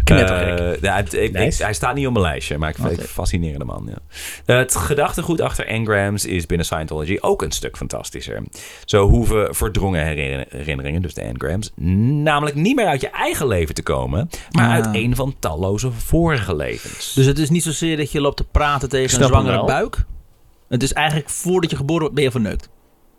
Knettergek.
Eh, ja, het- ik-
Nice.
ik- hij staat niet op mijn lijstje, maar ik vind het een fascinerende man. Ja. Eh, het gedachtegoed achter engrams is binnen Scientology ook een stuk fantastischer. Zo hoeven verdrongen herinner- herinneringen, dus de engrams, namelijk niet meer uit je eigen leven te komen, maar
Ah.
uit een van talloze vorige levens.
dus het is niet zozeer dat je loopt te praten tegen een
snap hem
zwangere
wel.
buik. Het is eigenlijk voordat je geboren wordt, ben je verneukt.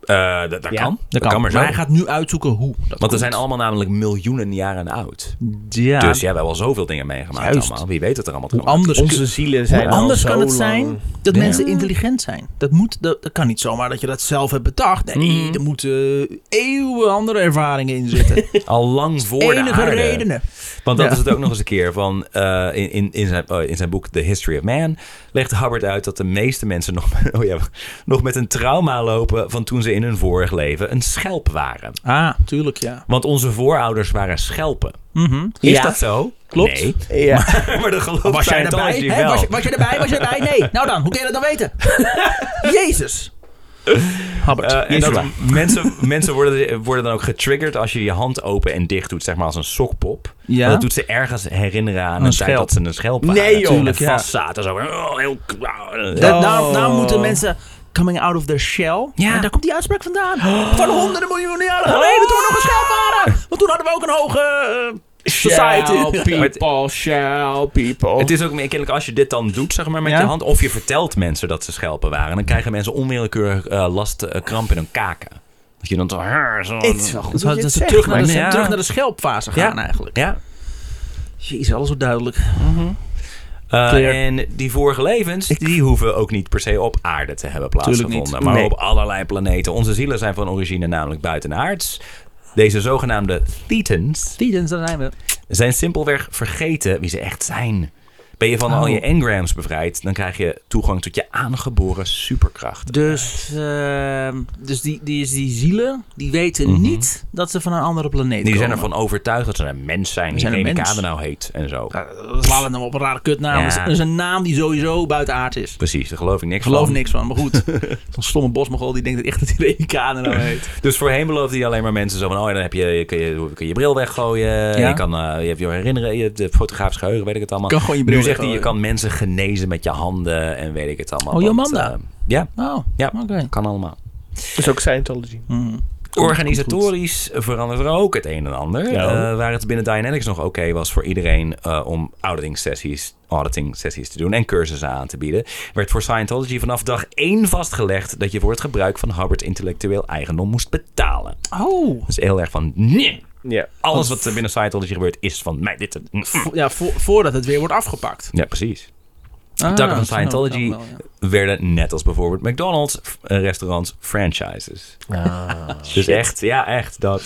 Eh, dat, dat
Ja,
kan. Dat, kan, maar zo.
hij gaat nu uitzoeken hoe. Dat
Want
komt.
er zijn allemaal namelijk miljoenen jaren oud.
Ja.
Dus ja, we hebben al zoveel dingen meegemaakt
Juist.
allemaal. Wie weet wat er allemaal te
hoe
komen.
anders,
Onze zielen zijn
hoe
al
Dus anders
zo
kan het
lang-
zijn dat
Ja.
mensen intelligent zijn. Dat, moet, dat, dat kan niet zomaar dat je dat zelf hebt bedacht. Nee,
Mm.
er moeten eeuwen andere ervaringen in zitten.
(laughs) Al lang voor de
Enige
aarde.
redenen.
Want dat
Ja.
is het ook nog eens een keer van eh, in, in, in, zijn, oh, in zijn boek The History of Man legt Hubbard uit dat de meeste mensen nog, oh ja, nog met een trauma lopen van toen ze in hun vorig leven een schelp waren.
Ah, tuurlijk, ja.
Want onze voorouders waren schelpen. Is
Ja.
dat zo?
Mhm. Klopt.
Nee. (laughs)
Ja.
maar dat gelooft
Was jij erbij?
Scientology
Hè?
wel.
Was, je- was je erbij? Was je erbij? Nee. Nou dan, hoe kun je dat dan weten? Jezus. Habbert.
Eh, en dat mensen (laughs) mensen worden, worden dan ook getriggerd als je je hand open en dicht doet, zeg maar als een sokpop.
Ja.
Want Dat doet ze ergens herinneren aan
Een
een tijd
schelp.
dat ze een schelp waren.
Nee, joh.
En
Tuurlijk, ja.
vast zaten zo. Oh, heel,
Da- daar, daar nou- moeten mensen coming out of their shell.
Ja.
En daar komt die uitspraak vandaan. Van honderden miljoenen jaren geleden toen we nog een schelp waren. Want toen hadden we ook een hoge eh,
(laughs) Shall
society.
people, shall people.
Het is ook meer kennelijk als je dit dan doet, zeg maar, met
Ja.
je hand. Of je vertelt mensen dat ze schelpen waren. Dan krijgen mensen onwillekeurig eh, last, eh, kramp in hun kaken. Dat je dan zo... zo-
Het is wel goed
Dat
dat
we
je
dat
het
ze
zegt,
terug, naar de,
maar- Ja.
terug naar de schelpfase gaan eigenlijk.
Ja.
Jezus, alles zo duidelijk.
Eh,
Clear.
en die vorige levens, die hoeven ook niet per se op aarde te hebben plaatsgevonden.
Tuurlijk niet.
Maar
Nee.
op allerlei planeten. Onze zielen zijn van origine namelijk buitenaards. Deze zogenaamde thetans
Titans, daar zijn we.
zijn simpelweg vergeten wie ze echt zijn. Ben je van
Oh.
al je engrams bevrijd, dan krijg je toegang tot je aangeboren superkrachten.
Dus, ehm, dus die, die, die zielen, die weten niet dat ze van een andere planeet
Die zijn
komen.
ervan overtuigd dat ze een mens zijn. Die
zijn een
geen
mens.
kader nou heet en zo.
Laten we hem op een rare kutnaam.
Ja.
Dat is- Dat is een naam die sowieso buiten aard is.
Precies, daar geloof ik niks
Ik geloof
van.
niks van, maar
(laughs)
goed. Zo'n stomme bosmogol die denkt dat echt dat hij Republikanen nou heet.
Dus voorheen beloofde hij alleen maar mensen zo van... oh, ja, dan heb je, kun, je, kun je bril weggooien.
Ja.
Je, kan, eh, je hebt je herinneren, je hebt het fotografisch geheugen, weet ik het allemaal.
Kan gewoon je bril
nu zegt hij, je
weggooien.
kan mensen genezen met je handen en weet ik het allemaal.
Oh,
want,
Jomanda.
eh, ja,
Oh,
ja
oké.
kan allemaal.
is ook Scientology.
hmm.
Organisatorisch verandert er ook het een en ander.
Ja.
Eh, waar het binnen Dynamics nog oké was voor iedereen eh, om auditing sessies, auditing sessies te doen en cursussen aan te bieden, werd voor Scientology vanaf dag één vastgelegd dat je voor het gebruik van Hubbard intellectueel eigendom moest betalen.
Oh.
Dus heel erg van nee.
Ja.
Alles wat er binnen Scientology gebeurt is van mij. Dit, mm, mm.
Vo- Ja, vo- voordat het weer wordt afgepakt.
ja, precies.
Ah,
Takken van
dat snap ik ook
Scientology
wel, ja.
werden net als bijvoorbeeld McDonald's f- eh, restaurants franchises.
Ah.
Oh,
dus echt, ja, echt dat.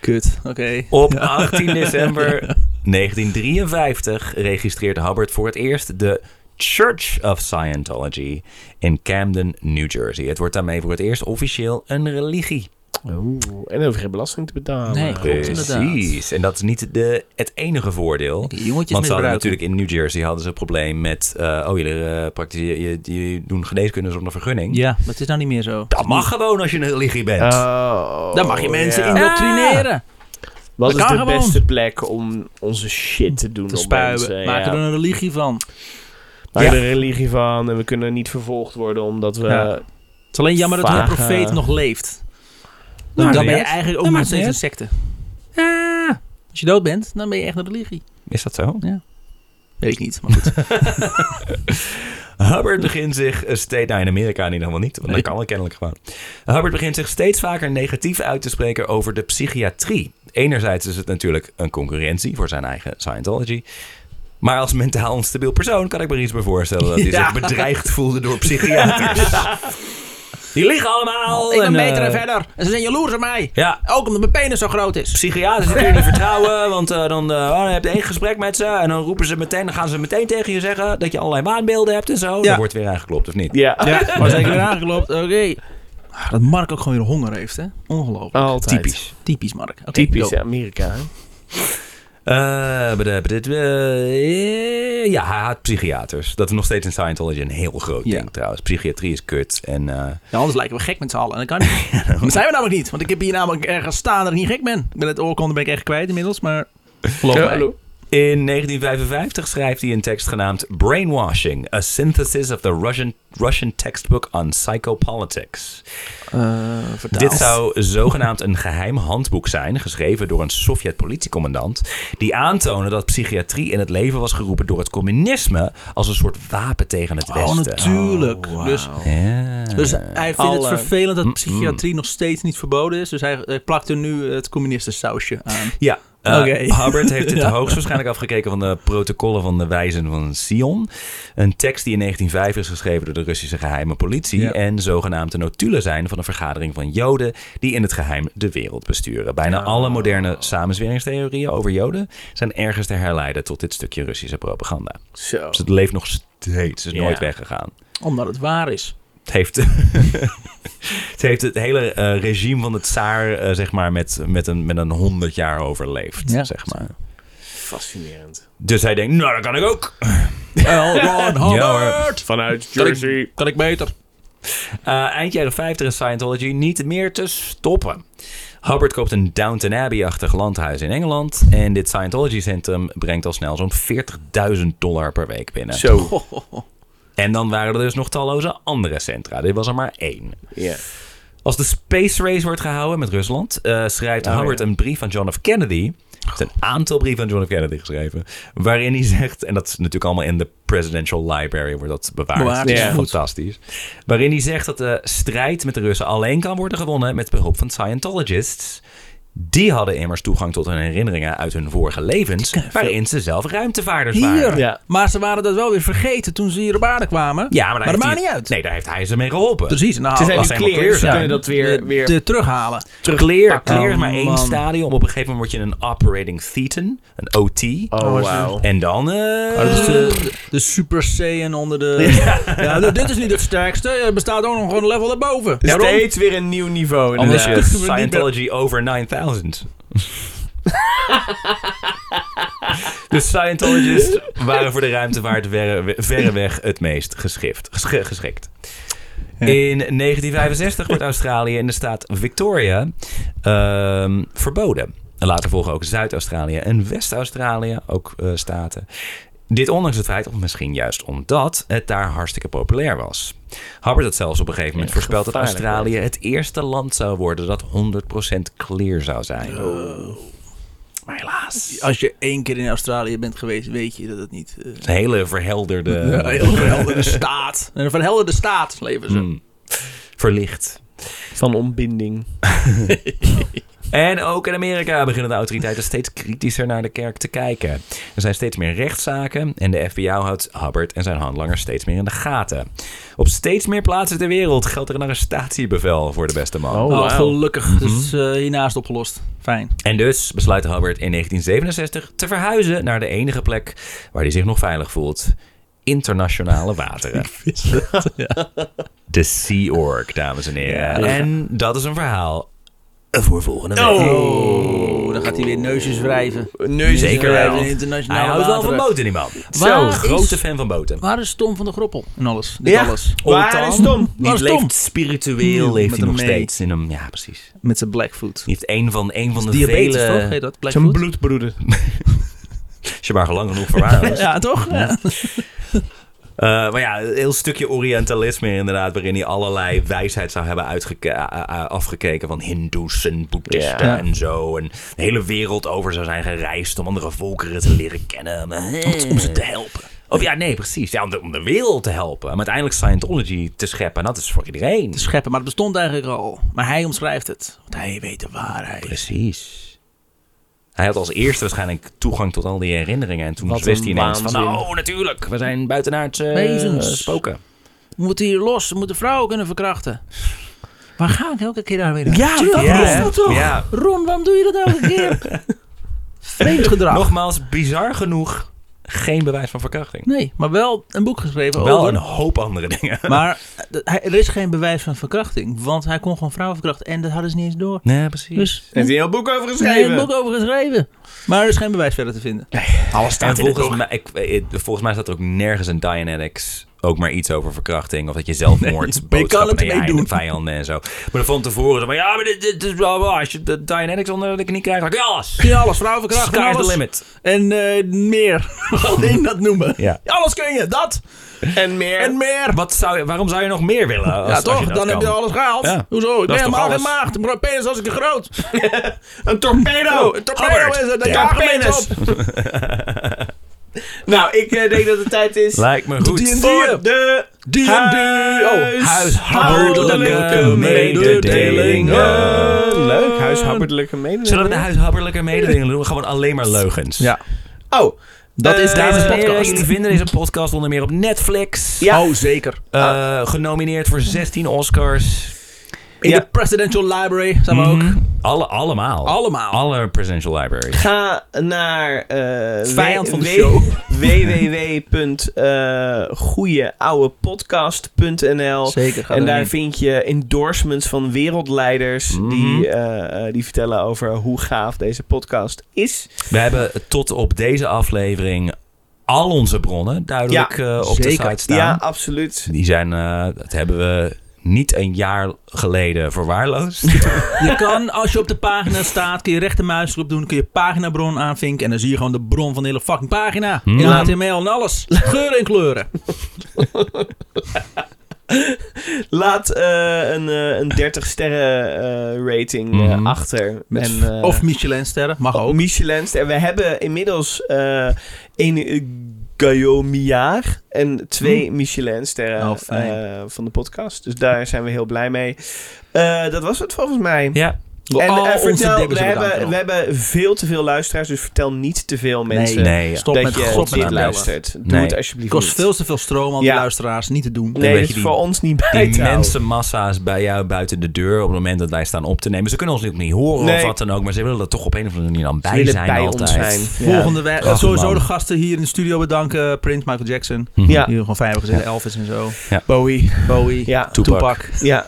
Kut, oké.
Op 18 december 1953 registreerde Hubbard voor het eerst de Church of Scientology in Camden, New Jersey. Het wordt daarmee voor het eerst officieel een religie.
(laughs) Oeh, en dan hoef je geen belasting te betalen.
Nee. Klopt,
Precies.
inderdaad.
En dat is niet de, het enige voordeel.
Die jongetjes
Want ze hadden
misbruiken.
natuurlijk in New Jersey hadden ze een probleem met... eh, oh, jullie, eh, praktiseren- je, je doen geneeskunde zonder vergunning.
Ja, maar het is nou niet meer zo.
Dat mag gewoon als je een religie bent.
Oh,
Dan mag je mensen
ja.
indoctrineren.
Ah.
Wat
Dat
is de
kan gewoon.
beste plek om onze shit te doen?
Te
op
spuien.
mensen?
Maak
ja.
er een religie van.
Maak er
Ja.
een religie van en we kunnen niet vervolgd worden omdat we...
Ja. Het is alleen jammer dat de
Vage-
profeet nog leeft. Dan,
Nou,
dan
niet
ben je
uit.
eigenlijk
Dat
ook nog
maakt niet
steeds een secte. Ja. Als je dood bent, dan ben je echt een religie.
Is dat zo?
Weet ik
(laughs)
niet, maar goed.
Hubbard begint zich steeds... Nou, in Amerika niet helemaal niet, want
Nee.
dat kan al kennelijk gewoon. Hubbard begint zich steeds vaker negatief uit te spreken over de psychiatrie. Enerzijds is het natuurlijk een concurrentie voor zijn eigen Scientology. Maar als mentaal onstabiel persoon kan ik me er iets bij voorstellen... dat hij
Ja.
zich bedreigd voelde door
(laughs)
psychiaters. Die liggen allemaal.
Oh, ik ben
en,
meter en
eh,
verder. En ze zijn jaloers op mij.
Ja,
Ook omdat mijn penis zo groot is.
psychiaters kun je niet vertrouwen, want eh, dan, eh, oh, dan heb je één gesprek met ze en dan roepen ze meteen, dan gaan ze meteen tegen je zeggen dat je allerlei waanbeelden hebt en zo. Dan wordt weer aangeklopt, of niet?
Ja.
(laughs) Ja, maar zeker weer aangeklopt. Oké. Ah, Dat Mark ook gewoon weer honger heeft, hè? Ongelooflijk.
Altijd.
Typisch.
Typisch Mark. Oké,
(laughs) Typisch
go.
Amerika. hè?
Eh, bedup, bedup, eh, ja, hij haat psychiaters. Dat is nog steeds in Scientology een heel groot
Ja.
ding trouwens. Psychiatrie is kut. En, eh,
Ja, Nou, anders lijken we gek met z'n allen. En dat kan niet. dat zijn we namelijk niet. Want ik heb hier namelijk ergens staan dat ik niet gek ben. Ik ben het oorkonde ben ik echt kwijt inmiddels, maar... Geloof
Ja,
mij.
hallo.
in 1955 schrijft hij een tekst genaamd Brainwashing, a synthesis of the Russian, Russian textbook on psychopolitics.
Eh, vertaald.
Dit zou zogenaamd een geheim handboek zijn, geschreven door een Sovjet-politiecommandant, die aantoonde dat psychiatrie in het leven was geroepen door het communisme als een soort wapen tegen het
Oh,
Westen. Oh,
natuurlijk. dus,
Ja.
dus hij vindt
Alle-
het vervelend dat psychiatrie nog steeds niet verboden is. Dus hij, hij plakt er nu het communistensausje aan.
Ja. eh,
Oké.
Hubbard heeft dit
(laughs) Ja.
hoogstwaarschijnlijk afgekeken van de protocollen van de wijzen van Sion. Een tekst die in 1905 is geschreven door de Russische geheime politie.
Ja.
En zogenaamd de notulen zijn van een vergadering van Joden die in het geheim de wereld besturen.
Ah.
Bijna alle moderne samenzweringstheorieën over Joden zijn ergens te herleiden tot dit stukje Russische propaganda.
Zo.
Dus het leeft nog steeds, is
Ja.
nooit weggegaan.
Omdat het waar is.
Het heeft, (laughs) het, heeft het hele eh, regime van de tsaar eh, zeg maar, met, met, een, met een 100 jaar overleefd.
Ja.
Zeg maar.
Fascinerend.
Dus hij denkt, nou, dat kan ik ook.
L. Ron Hubbard!
Vanuit
Kan ik-
Jersey.
Kan ik beter.
Eh, eind jaren 50 is Scientology niet meer te stoppen. Hubbard koopt een Downton Abbey-achtig landhuis in Engeland. En dit Scientology-centrum brengt al snel zo'n 40.000 dollar per week binnen.
Zo.
En dan waren er dus nog talloze andere centra. Dit was er maar één.
Ja.
Als de space race wordt gehouden met Rusland, eh, schrijft
Nou,
Oh,
Hubbard
ja.
een brief aan John F. Kennedy. Er zijn een aantal brieven aan John F. Kennedy geschreven. Waarin hij zegt, en dat is natuurlijk allemaal in de Presidential Library, wordt dat bewaard.
Bewaard,
Dat is
ja.
fantastisch. Waarin hij zegt dat de strijd met de Russen alleen kan worden gewonnen met behulp van Scientologists. Die hadden immers toegang tot hun herinneringen uit hun vorige levens, waarin ze zelf ruimtevaarders waren.
Hier!
Ja.
Maar ze waren dat wel weer vergeten toen ze hier op aarde kwamen.
Ja, maar, daar
dat
heeft
maakt
hij-
niet uit.
Nee, daar heeft hij ze mee geholpen.
Precies. Nou,
Ze zijn
als
weer
hij maar
clear,
clear
ze kunnen
zijn.
dat weer... weer
te terughalen.
Clear, clear is maar
Oh,
één
man.
stadium. Op een gegeven moment word je een operating thetan, een OT.
Oh, wauw.
En dan... eh,
Oh,
Oh,
Dat is de, de Super Saiyan onder de... Ja. dit- dit is niet het sterkste. Er bestaat ook nog een level erboven. Waarom?
Steeds weer een nieuw niveau.
Anders
inderdaad.
is
(laughs)
kunnen we niet
Scientology over 9000. De Scientologists waren voor de ruimtevaart verre- verreweg het meest geschift, gesche- geschikt. In 1965 wordt Australië in de staat Victoria ehm, verboden. En Later volgen ook Zuid-Australië en West-Australië, ook eh, staten. Dit ondanks het feit, of misschien juist omdat, het daar hartstikke populair was. Hubbard had zelfs op een gegeven moment voorspeld dat
gevaarlijk
Australië het eerste land zou worden dat 100% clear zou zijn. Maar helaas.
Als je één keer in Australië bent geweest, weet je dat het niet... eh,
Een hele verhelderde,
een heel verhelderde staat. Een verhelderde staat leven
Mm.
ze.
hmm, verlicht.
Van ontbinding.
En ook in Amerika beginnen de autoriteiten steeds kritischer naar de kerk te kijken. Er zijn steeds meer rechtszaken en de FBI houdt Hubbard en zijn handlangers steeds meer in de gaten. Op steeds meer plaatsen ter wereld geldt er een arrestatiebevel voor de beste man.
Oh,
Oh,
wauw.
gelukkig. Dus eh, hiernaast opgelost. Fijn.
En dus besluit Hubbard in 1967 te verhuizen naar de enige plek waar hij zich nog veilig voelt. Internationale wateren. De Sea Org, dames en heren.
Ja.
En dat is een verhaal voor volgende week.
Oh, dan gaat hij weer neusjes wrijven.
Neusjes
Zeker
wrijven
wel.
in internationale
Hij houdt wel van
wateren.
boten, die man.
Waar is-
grote fan van boten.
Waar is Tom van de Groppel in alles? Dit
Ja.
alles.
Waar is Tom?
Waar
Die
is Tom?
leeft spiritueel,
Ja,
leeft
met E. hem
hij nog
mee.
steeds in hem. Ja, precies.
Met zijn Blackfoot.
Die heeft een van, een van de
Diabetes, toch?
vele...
Heet dat?
Zijn
Blackfoot?
bloedbroeder.
Als je maar lang genoeg
(laughs)
voor waar was.
Ja, toch? Ja.
Eh, maar ja, een heel stukje Orientalisme inderdaad, waarin hij allerlei wijsheid zou hebben uitgeke- a- a- afgekeken van Hindoes en Boeddhisten
Ja.
en zo. En de hele wereld over zou zijn gereisd om andere volkeren te leren kennen. eh, maar-
Om- om ze te helpen.
Of ja, nee, precies. Ja, om, de, om de wereld te helpen. Om uiteindelijk Scientology te scheppen. En dat is voor iedereen.
Te scheppen, maar het bestond eigenlijk al. Maar hij omschrijft het. Want hij weet de waarheid.
Precies. Hij had als eerste waarschijnlijk toegang tot al die herinneringen. En toen
Wat
wist
een
hij ineens van...
waanzin.
Oh, natuurlijk. We zijn buitenaards eh,
Wezens.
spoken.
We moeten hier los. We moeten vrouwen kunnen verkrachten. Waar ga ik elke keer daar weer
Ja,
Tuurlijk,
ja,
Ron,
hè?
toch?
Ja.
Ron, waarom doe je dat elke
(laughs)
keer? Vreemd gedrag.
Nogmaals, bizar genoeg. Geen bewijs van verkrachting.
Nee, maar wel een boek geschreven
Wel
over.
een hoop andere dingen. (laughs)
Maar eh, hij- er is geen bewijs van verkrachting. Want hij kon gewoon vrouwen verkrachten. En dat hadden ze niet eens door.
Nee, precies.
Dus
Heeft hij een heel boek over
er is
geschreven?
een boek over geschreven. Maar er is geen bewijs verder te vinden.
Alles
en
in het
volgens
boek.
mij, ik, eh, volgens mij staat er ook nergens in Dianetics ook maar iets over verkrachting. Of dat je zelfmoord,
maar (laughs) je kan
boodschappen
het
aan je
ermee
eigen
doen.
vijanden en zo. Maar van tevoren, zo van, ja, maar dit, dit is bla bla. Als je de Dianetics onder de knie krijgt, dan kan je alles.
Kun je alles, vrouwen verkrachten,
Sky's the
alles.
limit.
En eh, meer. (laughs) Alleen dat noemen.
Ja.
Alles kun je, dat.
En meer.
En meer.
Wat zou je, waarom zou je nog meer willen? Als,
ja,
als
toch?
je dat
Dan heb
kan?
je alles gehaald.
Ja.
Hoezo? Ik ben
is toch
helemaal geen
alles?
maagd. Mijn penis was ik groot.
(laughs)
Oh,
een torpedo.
een torpedo is het. Dan
Ja,
jagen mensen
penis. nou, ik eh, denk dat het tijd is.
Lijkt me goed.
die en die.
voor de
Die en die. Oh,
huishoudelijke mededelingen.
Leuk, huishoudelijke mededelingen.
Zullen we de huishoudelijke mededelingen doen? Gewoon alleen maar leugens.
Ja,
Oh,
dat is
Eh,
David's
Dames en heren,
podcast.
jullie vinden deze podcast onder meer op Netflix.
Ja.
Oh, zeker.
Eh, genomineerd voor 16 Oscars.
In
Ja.
de Presidential Library zijn we
Mhm.
ook.
Alle, allemaal.
Allemaal.
Alle Presidential Libraries.
ga naar eh
Vijand van de
w-
show.
eh, www.goeieouwepodcast.nl
Zeker, ga
En daar
daarheen.
vind je endorsements van wereldleiders
Mhm.
die, eh, eh, die vertellen over hoe gaaf deze podcast is.
We hebben tot op deze aflevering al onze bronnen duidelijk eh, op
zeker.
de site staan.
Ja, absoluut.
Die zijn, eh, dat hebben we niet een jaar geleden verwaarloosd.
(laughs) Je kan, als je op de pagina staat, kun je rechtermuisknop doen, kun je paginabron aanvinken en dan zie je gewoon de bron van de hele fucking pagina. In
Ja.
HTML en alles. Geuren en kleuren.
Laat eh, een, eh, een 30 sterren eh, rating eh,
Mhm.
achter.
Met,
en, eh,
of Michelinsterren, mag ook.
Michelin's. En we hebben inmiddels eh één eh, Guillaume Millard en twee Michelinsterren
Mhm. Oh, fijn.
eh, van de podcast. Dus daar zijn we heel blij mee. Eh, dat was het volgens mij.
ja.
En
Al
eh,
onze
vertel,
dibbers
we
op het
hebben,
aantal.
we hebben veel te veel luisteraars, dus vertel niet te veel mensen
Nee,
stop
dat
met
je
God
dit
met luisteren.
luistert. Doe
Nee.
het
Het
alsjeblieft
kost
niet.
veel te veel stroom al die
Ja.
luisteraars, niet te doen.
Een
Nee, dat
beetje
is
die-
voor ons niet bij
Die
te houden.
mensenmassa's bij jou buiten de deur op het moment dat wij staan op te nemen. Ze kunnen ons natuurlijk niet horen of
Nee.
wat dan ook, maar ze willen er toch op een of andere manier dan
Ze
bij
willen
zijn
bij
altijd.
ons
(laughs)
zijn. Ja.
Volgende week.
Ach,
sowieso
man.
de gasten hier in de studio bedanken. Prince, Michael Jackson.
Mhm.
Ja.
Die gewoon fijn hebben gezegd. Elvis en zo.
Bowie.
Bowie.
Ja.
Tupac. (laughs)
Ja.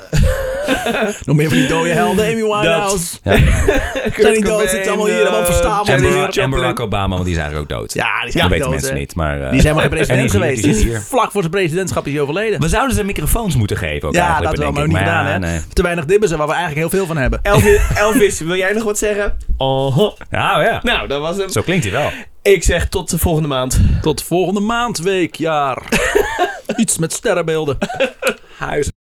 Nog meer van die dode
(laughs)
helden. Amy Winehouse.
Ja.
Zijn die dood? Zit allemaal hier allemaal verstaan.
En,
Charlie
Barack, en
Chaplin.
Barack Obama, want die zijn eigenlijk ook dood.
Ja, die zijn dood,
dat weten mensen
hè.
niet, maar... eh,
Die zijn maar geen
en
president
die is hier,
geweest.
die is hier.
Vlak voor zijn presidentschap is hij overleden.
We zouden ze microfoons moeten geven ook
Ja,
eigenlijk,
dat wel, maar niet
bedenk ik.
gedaan,
ja,
hè?
nee.
Te weinig dibbers, waar we eigenlijk heel veel van hebben.
Elvis, Elvis, wil jij nog wat zeggen? Oh.
Nou ja,
Nou, dat was hem.
zo klinkt hij wel.
Ik zeg tot de volgende maand.
(laughs)
Tot volgende maand, week, jaar. Iets met sterrenbeelden.
Huis